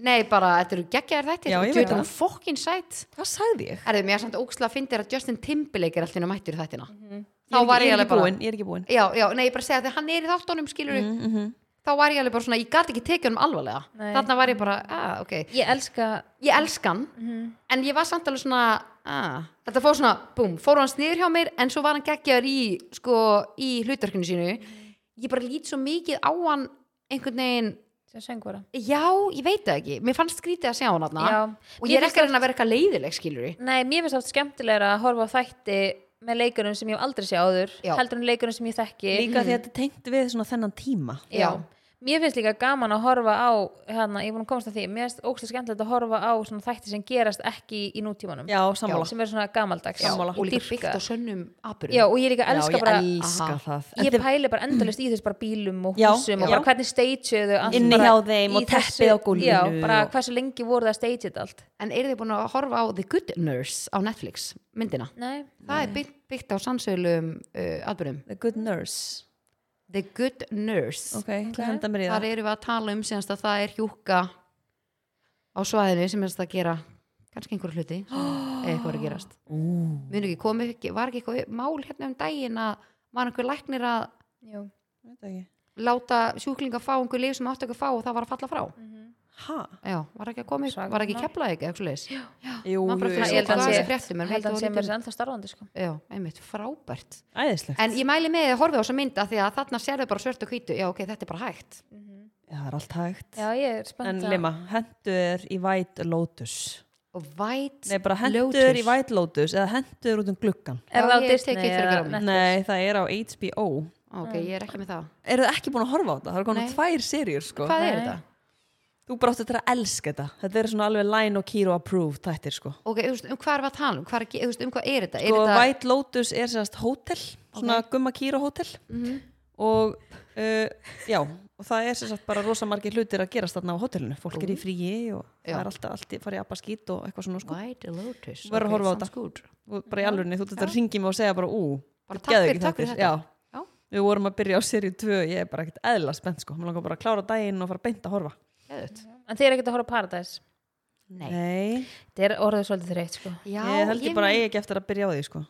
C: Nei, bara, þetta eru geggjaðar þættir.
B: Já, ég veit
C: Djöfull
B: það.
C: er hún fucking sætt.
B: Hvað sagði ég?
C: Erðu, mér er samt ógslag að fyndi að Justin Timberlake er alltaf inn á mættur í þættina.
B: Ég er
C: Þá
B: ekki-
C: var
B: ég
C: ég
B: er
C: alveg
B: ekki
C: bara-
B: búin, ég er ekki búin.
C: Já, já, nei, ég bara segja að hann er í þáttunum skilur mm,
B: Mhm.
C: þá var ég alveg bara svona, ég gat ekki tekið um alvarlega
A: Nei.
C: þarna var ég bara, ah, ok
A: Ég elska
C: ég elskan,
A: Mhm.
C: en ég var samt alveg svona ah, þetta fór svona, búm, fór hann sniður hjá mér en svo var hann geggjar í sko, í hlutverkinu sínu
A: Mhm.
C: ég bara lít svo mikið á hann einhvern veginn,
A: sem söngvara
C: já, ég veit það ekki mér fannst skrítið að sjá hann þarna
A: Já.
C: og
A: Mér
C: ég er
A: finnst
C: ekki að reyna að vera eitthvað leiðileg skilur við
A: Nei, mér finnst oft skemmtilegra að horfa á þætti með leikurum sem ég hef aldrei séð áður
C: Já.
A: heldur en leikurum sem ég þekki
B: Líka því að þetta tengt við svona þennan tíma
A: Já. Mér finnst líka gaman að horfa á hérna, ég er búin að komast að því, mér finnst ókslega skemmtilegt að horfa á svona þætti sem gerast ekki í nútímanum
B: Já, sammála
A: sem er svona gamaldags
B: Sammála.
C: og líka byggt
A: dýrka.
C: á sönnum apurum
A: Já, og ég líka elska bara
B: elska
C: Aha.
B: það En
A: ég
B: þið-
A: pæli bara endalist í þess bara bílum og
B: Já,
A: húsum og
B: já.
A: bara hvernig stageuðu allt
B: Inni
A: bara
B: hjá þeim
A: í
B: og teppið
A: þessu-
B: á gólfinu
A: Já, bara
B: og-
A: hversu lengi voru það stageuð allt
C: en eru þið búin að horfa á The Good Nurse á Netflix, myndina
A: Nei,
C: það er byggt, byggt á sannsögulegum uh, alburum,
B: The Good Nurse
C: The Good Nurse
B: Ok, ég ætla að henda mér í
C: þar
B: það
C: erum við að tala um síðanst að það er hjúka á svæðinu sem er að gera kannski einhverju hluti sem eitthvað er að gerast Munu ekki komi, var ekki eitthvað mál hérna um daginn að var einhver læknir að
A: jú
B: Veit ekki.
C: láta sjúklinga fá einhver lif sem átti ekki að fá og það var að falla frá
A: Mm.
B: Ha?
C: já, var ekki að komi,
A: Svakalegt
C: var ekki
A: mál.
C: að kepla ekki eitthvað leis já,
B: Jú,
C: Maður bara
B: jú,
C: fyrir
B: jú.
A: Ég
C: sig-
A: held að
C: hvað
A: hann
C: er
A: sé-
C: þessi fréttum er,
A: ég held að
C: veit
A: hann
C: þú
A: sé mér
C: lítið-
A: ennþá starfandi sko.
C: einmitt, frábært
B: Æðislegt
C: en ég mæli með að horfa á þessa mynd að því að þarna sérðu bara svört og hvítu, já ok, þetta er bara hægt
B: Já, Það er allt hægt
A: Já, ég er spennt
B: En
A: að-
B: Lima, hendur þér í White Lotus
C: og væt
B: Nei, bara hendur þér í White Lotus eða hendur þér út um gluggan
A: Er
C: Já,
A: það á
C: ég
A: Disney
C: tek ég fyrir
A: eða
C: grammi.
A: Netflix?
B: Nei, það er á HBO
C: ok, ég er ekki með það,
B: Eru þið ekki búin að horfa á þetta? Það eru konar
C: Nei.
B: tvær serjur sko
C: hvað
A: Nei.
C: er þetta?
B: Þú bara áttu þetta að elska þetta Þetta er svona alveg line og Kiro approved þættir sko
C: ok, þú veist, um hvað er við að tala um, hvað er, þú veist, um hvað er þetta er
B: sko,
C: þetta,
B: White Lotus er sérst hótel svona gumma kýra hótel
C: Mhm.
B: og uh, já og það er sérst bara rosa margir hlutir að gerast þarna á hótelinu, fólk er í fríi og
C: Já.
B: það er alltaf, alltaf farið að appa skýt og eitthvað svona sko.
C: White Lotus
B: Verður að
C: ok,
B: horfa á
C: sounds
B: þetta.
C: good.
B: og bara í alvörinu, þú þetta ringið mig og segja bara ú,
C: Bara
B: þetta er
C: takk fyrir-
B: geðveikir
C: takk fyrir
B: þættir.
C: þetta.
B: já.
C: Já.
B: við vorum að byrja á serið 2 ég er bara ekkert eðla spennt sko maður langar bara að klára daginn og fara beint að horfa
C: Geðveikt.
A: En þið er ekkert að horfa á Paradise
C: nei,
B: Nei,
A: Þetta er orðið svolítið þreytt sko.
C: já,
B: ég held ég bara
C: mun-
B: eigi ekki eftir að byrja á því sko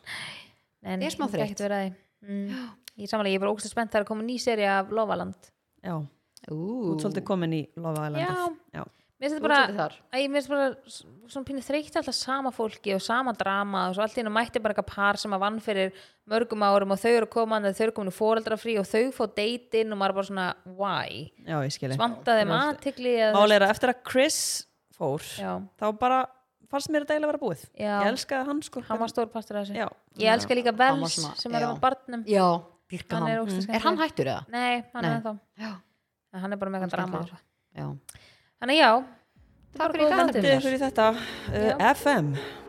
A: En
C: Ég er smá
A: myndi
C: þreytt.
A: ekkert vera að því. Mm. Ég er samanlega, ég er bara ógst að spennt Það er að koma ný seri af Lovaland
B: Já, þú
C: ú,
B: ert svolítið komin í Love Island Já,
A: Mér finnst þetta
C: Þú ert svolítið
A: bara,
C: þar.
A: Æ, mér finnst bara s- svona pínu þreytt alltaf sama fólki og sama drama og svo allt í hennu mætti bara eitthvað par sem að vann fyrir mörgum árum og þau eru koman þau eru komin í fóreldrafrí og þau fóð deitinn og maður bara svona, why?
B: já ég skilji
A: Svantaði þeim aðtikli
B: Mál er að eftir að Chris fór
A: Já,
B: þá bara fannst mér þetta eiginlega vera búið
A: Já.
B: ég elskaði hann sko
A: hann var stór partur af þessu
B: já,
A: Ég elska líka
C: Hann var
A: Vels
C: svona-
A: sem er
C: já.
A: með barnum
C: já, dyrka
A: Hann
C: hann,
A: er ógeðslega
C: Mm. er,
A: skemmtilegur.
C: hann hættur eða?
A: Nei, hann
C: Nei.
A: er ennþá
C: já,
A: En hann er bara með eitthvað drama
C: skemmtilegur. já
A: Þannig að já,
C: takk
A: bara
C: fyrir
A: góð
C: þetta
A: þáttur.
B: þetta er fyrir þetta uh, FM